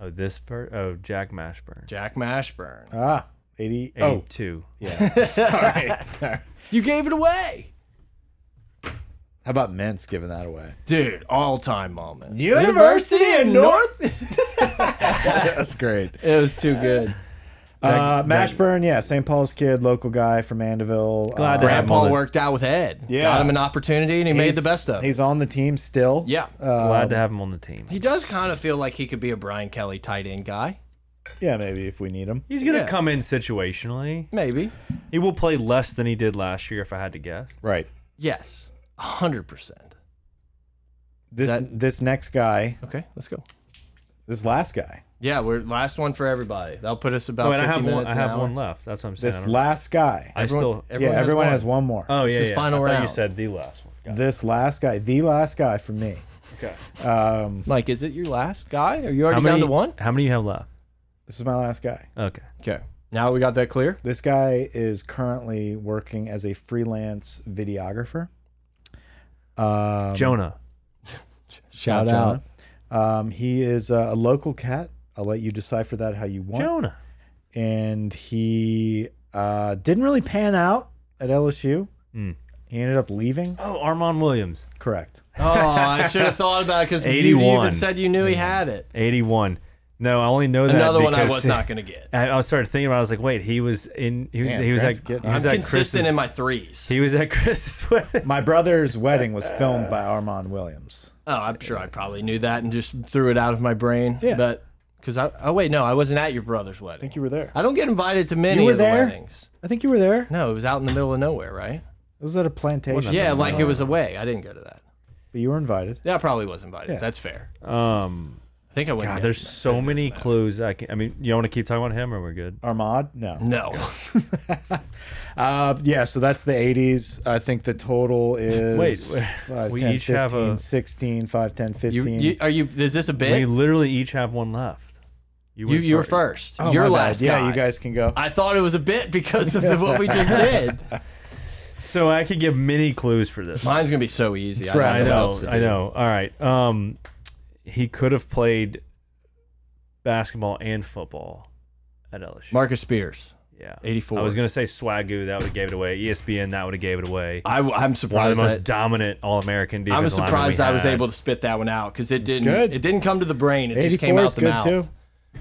S4: Oh, this per oh Jack Mashburn.
S2: Jack Mashburn.
S3: ah 80. Oh,
S4: Eight two.
S3: sorry. sorry.
S2: You gave it away.
S3: How about Mints giving that away?
S2: Dude, all time moment.
S3: University of
S2: North?
S3: That's great.
S2: It was too good.
S3: Uh, Mashburn, yeah, St. Paul's kid, local guy from Mandeville.
S4: Glad
S3: Uh,
S4: to have
S2: Grandpa
S4: mother-
S2: worked out with Ed.
S3: Yeah.
S2: Got him an opportunity and he made
S3: he's-
S2: the best of it.
S3: He's on the team still. Uh,
S2: Yeah.
S4: Glad
S3: um,
S4: to have him on the team.
S2: He does kind of feel like he could be a Brian Kelly tight end guy.
S3: Yeah, maybe if we need him.
S4: He's gonna
S2: Yeah.
S4: come in situationally.
S2: Maybe.
S4: He will play less than he did last year, if I had to guess.
S3: Right.
S2: Yes. 100%.
S3: This
S2: that-
S3: this next guy,
S2: Okay, let's go.
S3: this last guy,
S2: Yeah, we're last one for everybody. That'll put us about
S4: oh, and I
S2: 50
S4: have one.
S2: minutes
S4: I
S2: an
S4: have
S2: hour.
S4: one left. That's what I'm saying. I
S3: this
S4: don't-
S3: last guy.
S4: I still.
S3: yeah, everyone has one more.
S4: oh
S2: this
S4: yeah,
S2: is
S4: yeah.
S2: final
S4: I thought you
S2: round.
S4: said the last one. Got it.
S3: This last guy, the last guy for me. Um,
S2: Mike, is it your last guy? Are you already
S4: How many?
S2: down to one?
S4: How many you have left?
S3: This is my last guy.
S4: Okay.
S2: Okay. Now we got that clear.
S3: This guy is currently working as a freelance videographer. Um,
S4: Jonah.
S3: Shout
S2: out.
S3: Um, he is uh, a local cat. I'll let you decipher that how you want.
S4: Jonah.
S3: And he uh, didn't really pan out at LSU. He ended up leaving.
S4: Oh, Armand Williams.
S3: Correct.
S2: Oh, I should have thought about it because you
S4: 81.
S2: even said you knew he had it.
S4: 81. No, I only know that
S2: Another one I
S4: because-
S2: was not going to get.
S4: I, I started thinking about. it. I was like, wait, he was in. He was.
S3: Man,
S4: he was
S3: Grant's
S4: at. He
S3: getting-
S4: was
S2: I'm
S4: at Chris's.
S2: consistent in my threes.
S4: he was at Chris's wedding.
S3: My brother's wedding was filmed by Armand Williams.
S2: Oh, I'm sure I probably knew that and just threw it out of my brain. Yeah. But because I, oh wait, no, I wasn't at your brother's wedding.
S3: I think you were there.
S2: I don't get invited to many
S3: You were
S2: of the
S3: there?
S2: weddings.
S3: I think you were there.
S2: No, it was out in the middle of nowhere, right?
S3: It was at a plantation.
S2: yeah, like it was away. I didn't go to that.
S3: But you were invited.
S2: Yeah, I probably was invited.
S3: Yeah.
S2: That's fair.
S4: Um,
S2: I think I went.
S4: God,
S2: yes.
S4: there's so many clues. I can. I mean, you want to keep talking about him, or we're good?
S3: Armand? No.
S2: no.
S3: Uh, yeah, so that's the 80s. I think the total is
S4: Wait, wait.
S3: 5,
S4: We
S3: 10,
S4: each have
S3: 15,
S4: a-
S3: 16, 5, 10,
S2: You,
S3: 15.
S2: you are you? Is this a
S4: We
S2: bit?
S4: literally each have one left.
S2: You you were first. Your
S3: Oh, my bad.
S2: last
S3: Yeah,
S2: guy.
S3: you guys can go.
S2: I thought it was a bit because of the, what we just did.
S4: So I could give many clues for this.
S2: Mine's gonna be so easy.
S3: That's right.
S4: I
S3: what
S4: know.
S3: else to
S4: I
S3: do.
S4: know. All right. Um, he could have played basketball and football at LSU.
S2: Marcus Spears.
S4: yeah,
S2: 84.
S4: I was gonna say Swagoo. That would have gave it away. E ESPN. That would have gave it away.
S2: I, am
S4: One of
S2: surprised.
S4: the most
S2: that-
S4: dominant All-American
S2: I
S4: defensive
S2: was
S4: linemen we
S2: surprised I was
S4: had.
S2: able to spit that one out because it didn't.
S3: good.
S2: It didn't come to the brain. It just
S3: 84
S2: came out
S3: is
S2: the
S3: good
S2: mouth.
S3: too.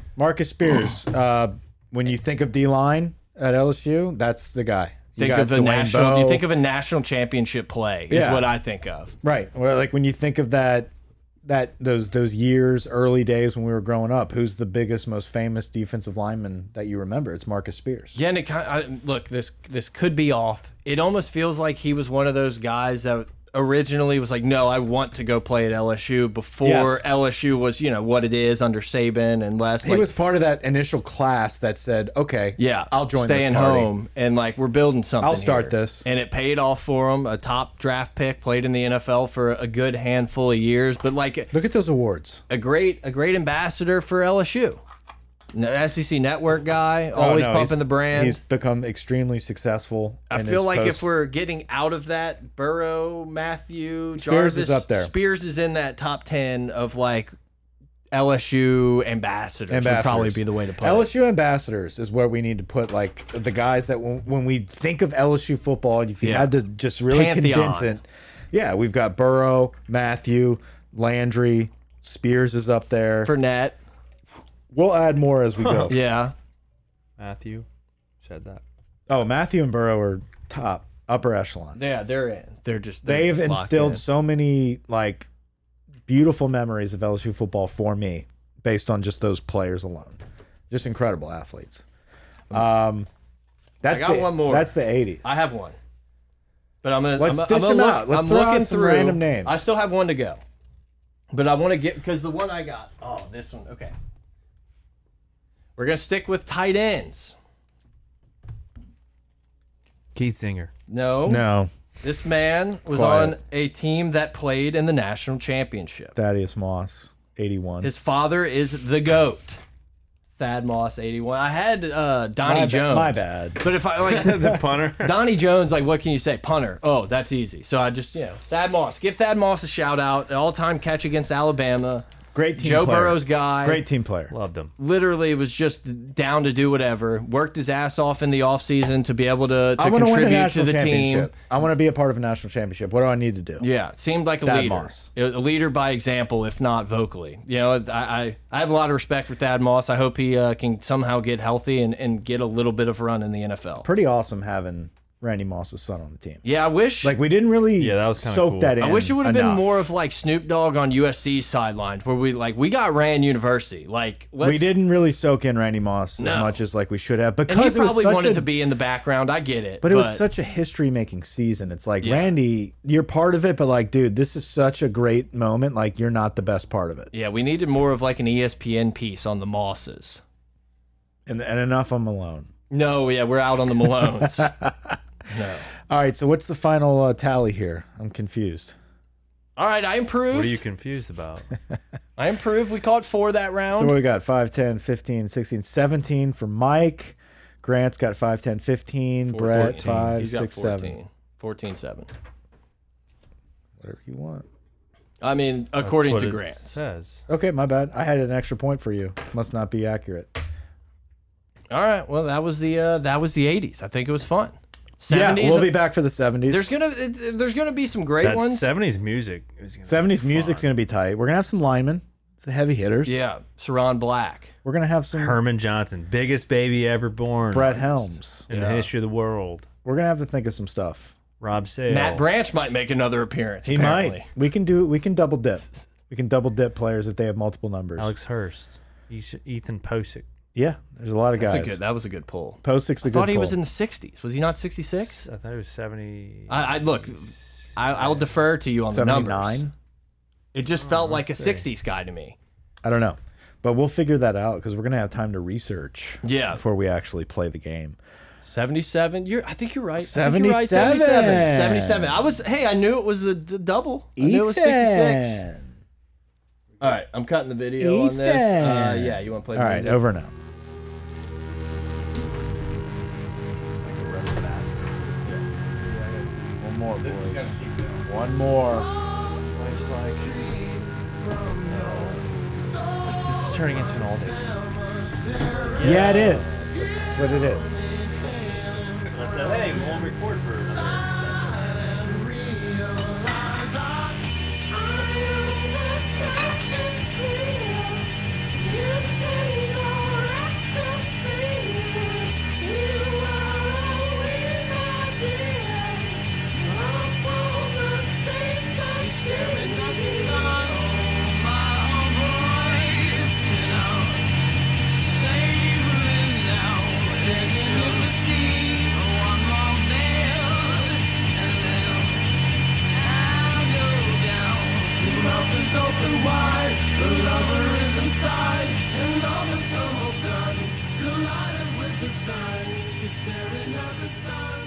S3: Marcus Spears. uh, when you think of D line at LSU, that's the guy.
S2: think
S3: got
S2: of a
S3: Dwayne
S2: national.
S3: Bowe.
S2: You think of a national championship play is
S3: Yeah.
S2: what I think of.
S3: Right. Well, like when you think of that that those those years, early days when we were growing up, who's the biggest, most famous defensive lineman that you remember? It's Marcus Spears.
S2: Yeah, and it kind I, look this this could be off. It almost feels like he was one of those guys that originally was like, no, I want to go play at LSU before
S3: Yes.
S2: LSU was you know what it is under Saban and Les.
S3: He was part of that initial class that said, "Okay,
S2: Yeah,
S3: I'll join this
S2: Staying
S3: party.
S2: home and like we're building something.
S3: I'll start
S2: here.
S3: this.
S2: and it paid off for him. A top draft pick, played in the NFL for a good handful of years, but like
S3: Look at those awards.
S2: a great, a great ambassador for LSU. No, SEC E Network guy, always
S3: Oh, no,
S2: pumping
S3: he's-
S2: the brand.
S3: He's become extremely successful.
S2: I
S3: in
S2: feel
S3: his
S2: like
S3: post-
S2: if we're getting out of that, Burrow, Matthew,
S3: Spears
S2: Jarvis,
S3: is up there.
S2: Spears is in that top ten of like LSU ambassadors. Would probably
S3: Ambassadors.
S2: be the way to put it.
S3: LSU ambassadors is where we need to put like the guys that when, when we think of LSU football, if you
S2: Yeah.
S3: had to just really
S2: Pantheon.
S3: condense it, yeah, we've got Burrow, Matthew, Landry, Spears is up there.
S2: Fournette,
S3: we'll add more as we go.
S2: yeah,
S4: Matthew said that.
S3: Oh, Matthew and Burrow are top upper echelon.
S2: yeah, they're in. They're just they're
S3: They've
S2: just locked in.
S3: instilled so many like beautiful memories of LSU football for me, based on just those players alone. Just incredible athletes. Um, that's
S2: got
S3: the,
S2: one more.
S3: That's the '80s.
S2: I have one. But I'm gonna
S3: Let's
S2: I'm,
S3: dish
S2: I'm gonna
S3: them
S2: look,
S3: out. Let's
S2: I'm
S3: throw out
S2: looking
S3: some
S2: through
S3: random names.
S2: I still have one to go. But I want to get because the one I got. Oh, this one. Okay. We're gonna stick with tight ends.
S4: Keith Singer.
S2: No,
S3: no
S2: This man was
S3: Quiet.
S2: on a team that played in the national championship.
S3: Thaddeus Moss, '81.
S2: His father is the goat. Thad Moss, eighty-one. I had uh, Donnie
S3: my, ba-
S2: Jones.
S3: my bad.
S2: But if I like
S4: The punter.
S2: Donnie Jones, like, what can you say? Punter. Oh, that's easy. So I just, you know, Thad Moss. Give Thad Moss a shout out. An all time catch against Alabama.
S3: Great team.
S2: Joe
S3: player.
S2: Burrow's guy.
S3: Great team player.
S4: Loved him.
S2: Literally was just down to do whatever. Worked his ass off in the offseason to be able to, to
S3: I want to win a
S2: contribute to
S3: national
S2: the team.
S3: championship. I want to be a part of a national championship. What do I need to do?
S2: Yeah, seemed like a
S3: Thad
S2: leader.
S3: Moss.
S2: A a leader by example, if not vocally. You know, I, I, I have a lot of respect for Thad Moss. I hope he uh, can somehow get healthy and, and get a little bit of run in the NFL.
S3: Pretty awesome having Randy Moss's son on the team.
S2: Yeah, I wish.
S3: Like we didn't really
S4: Yeah, that was kinda
S3: soak
S4: cool.
S3: that in.
S2: I wish it would have been
S3: enough.
S2: more of like Snoop Dogg on USC's sidelines, where we like we got Rand University. Like let's,
S3: we didn't really soak in Randy Moss as
S2: No.
S3: much as like we should have
S2: And he
S3: because it was
S2: probably
S3: such
S2: wanted
S3: a,
S2: to be in the background. I get it,
S3: but it was such a history making season. It's like Randy, you're part of it, but like, dude, this is such a great moment. Like, you're not the best part of it,
S2: yeah, we needed more of like an E ESPN piece on the Mosses.
S3: and and enough. I'm alone.
S2: No, yeah, we're out on the Malones.
S3: All right, so what's the final uh, tally here? I'm confused.
S2: All right, I improved.
S4: What are you confused about?
S2: I improved. We caught four that round.
S3: So what we got 5, 10, 15, 16, 17 for Mike. Grant's got 5, 10, 15. Brett,
S2: Fourteen.
S3: five,
S2: He's got
S3: six, seven.
S2: 14, 7.
S3: Whatever you want.
S2: I mean,
S4: That's
S2: according
S4: what
S2: to
S4: it
S2: Grant.
S4: says.
S3: Okay, my bad. I had an extra point for you. Must not be accurate.
S2: All right. Well, that was the uh, that was the 80s. I think it was fun. 70s.
S3: Yeah, we'll be back for the 70s.
S2: There's gonna it- there's gonna be some great
S4: That
S2: ones.
S4: 70s music is gonna
S3: 70s music's going to be tight. We're going to have some linemen. It's the heavy hitters.
S2: Yeah, Saran Black.
S3: We're going to have some
S4: Herman Johnson, biggest baby ever born.
S3: Brett Helms.
S4: in the history of the world.
S3: We're going to have to think of some stuff.
S4: Rob Sale.
S2: Matt Branch might make another appearance.
S3: He
S2: apparently.
S3: might. We can do we can double dip. We can double dip players if they have multiple numbers.
S4: Alex Hurst. Eas- Ethan Posick.
S3: Yeah, there's a lot of
S2: That's
S3: guys.
S2: a good. That was a good pull.
S3: Posick's a
S2: I
S3: good
S2: thought he
S3: pull.
S2: was in the 60s. Was he not 66?
S4: I thought it was 70.
S2: I, I look. I, I'll defer to you on the numbers.
S3: 79.
S2: It just
S3: Oh,
S2: felt like a 60s guy to me.
S3: I don't know. But we'll figure that out because we're going to have time to research
S2: Yeah.
S3: before we actually play the game.
S2: 77. You're. I think you're right. I think you're right. 77.
S3: 77.
S2: 77. I was. Hey, I knew it was the, the double. I knew it was 66.
S3: Ethan.
S2: All right, I'm cutting the video on this. Uh,
S3: Ethan.
S2: yeah, you want to play?
S3: All right,
S2: music?
S3: over now. One more.
S2: This is gonna keep going.
S3: One more.
S4: This is turning into an all day.
S3: Yeah. it is. That's what it is.
S4: I said, hey, we won't record for
S5: Ecstasy, you are all we might sun. You're staring at the sun.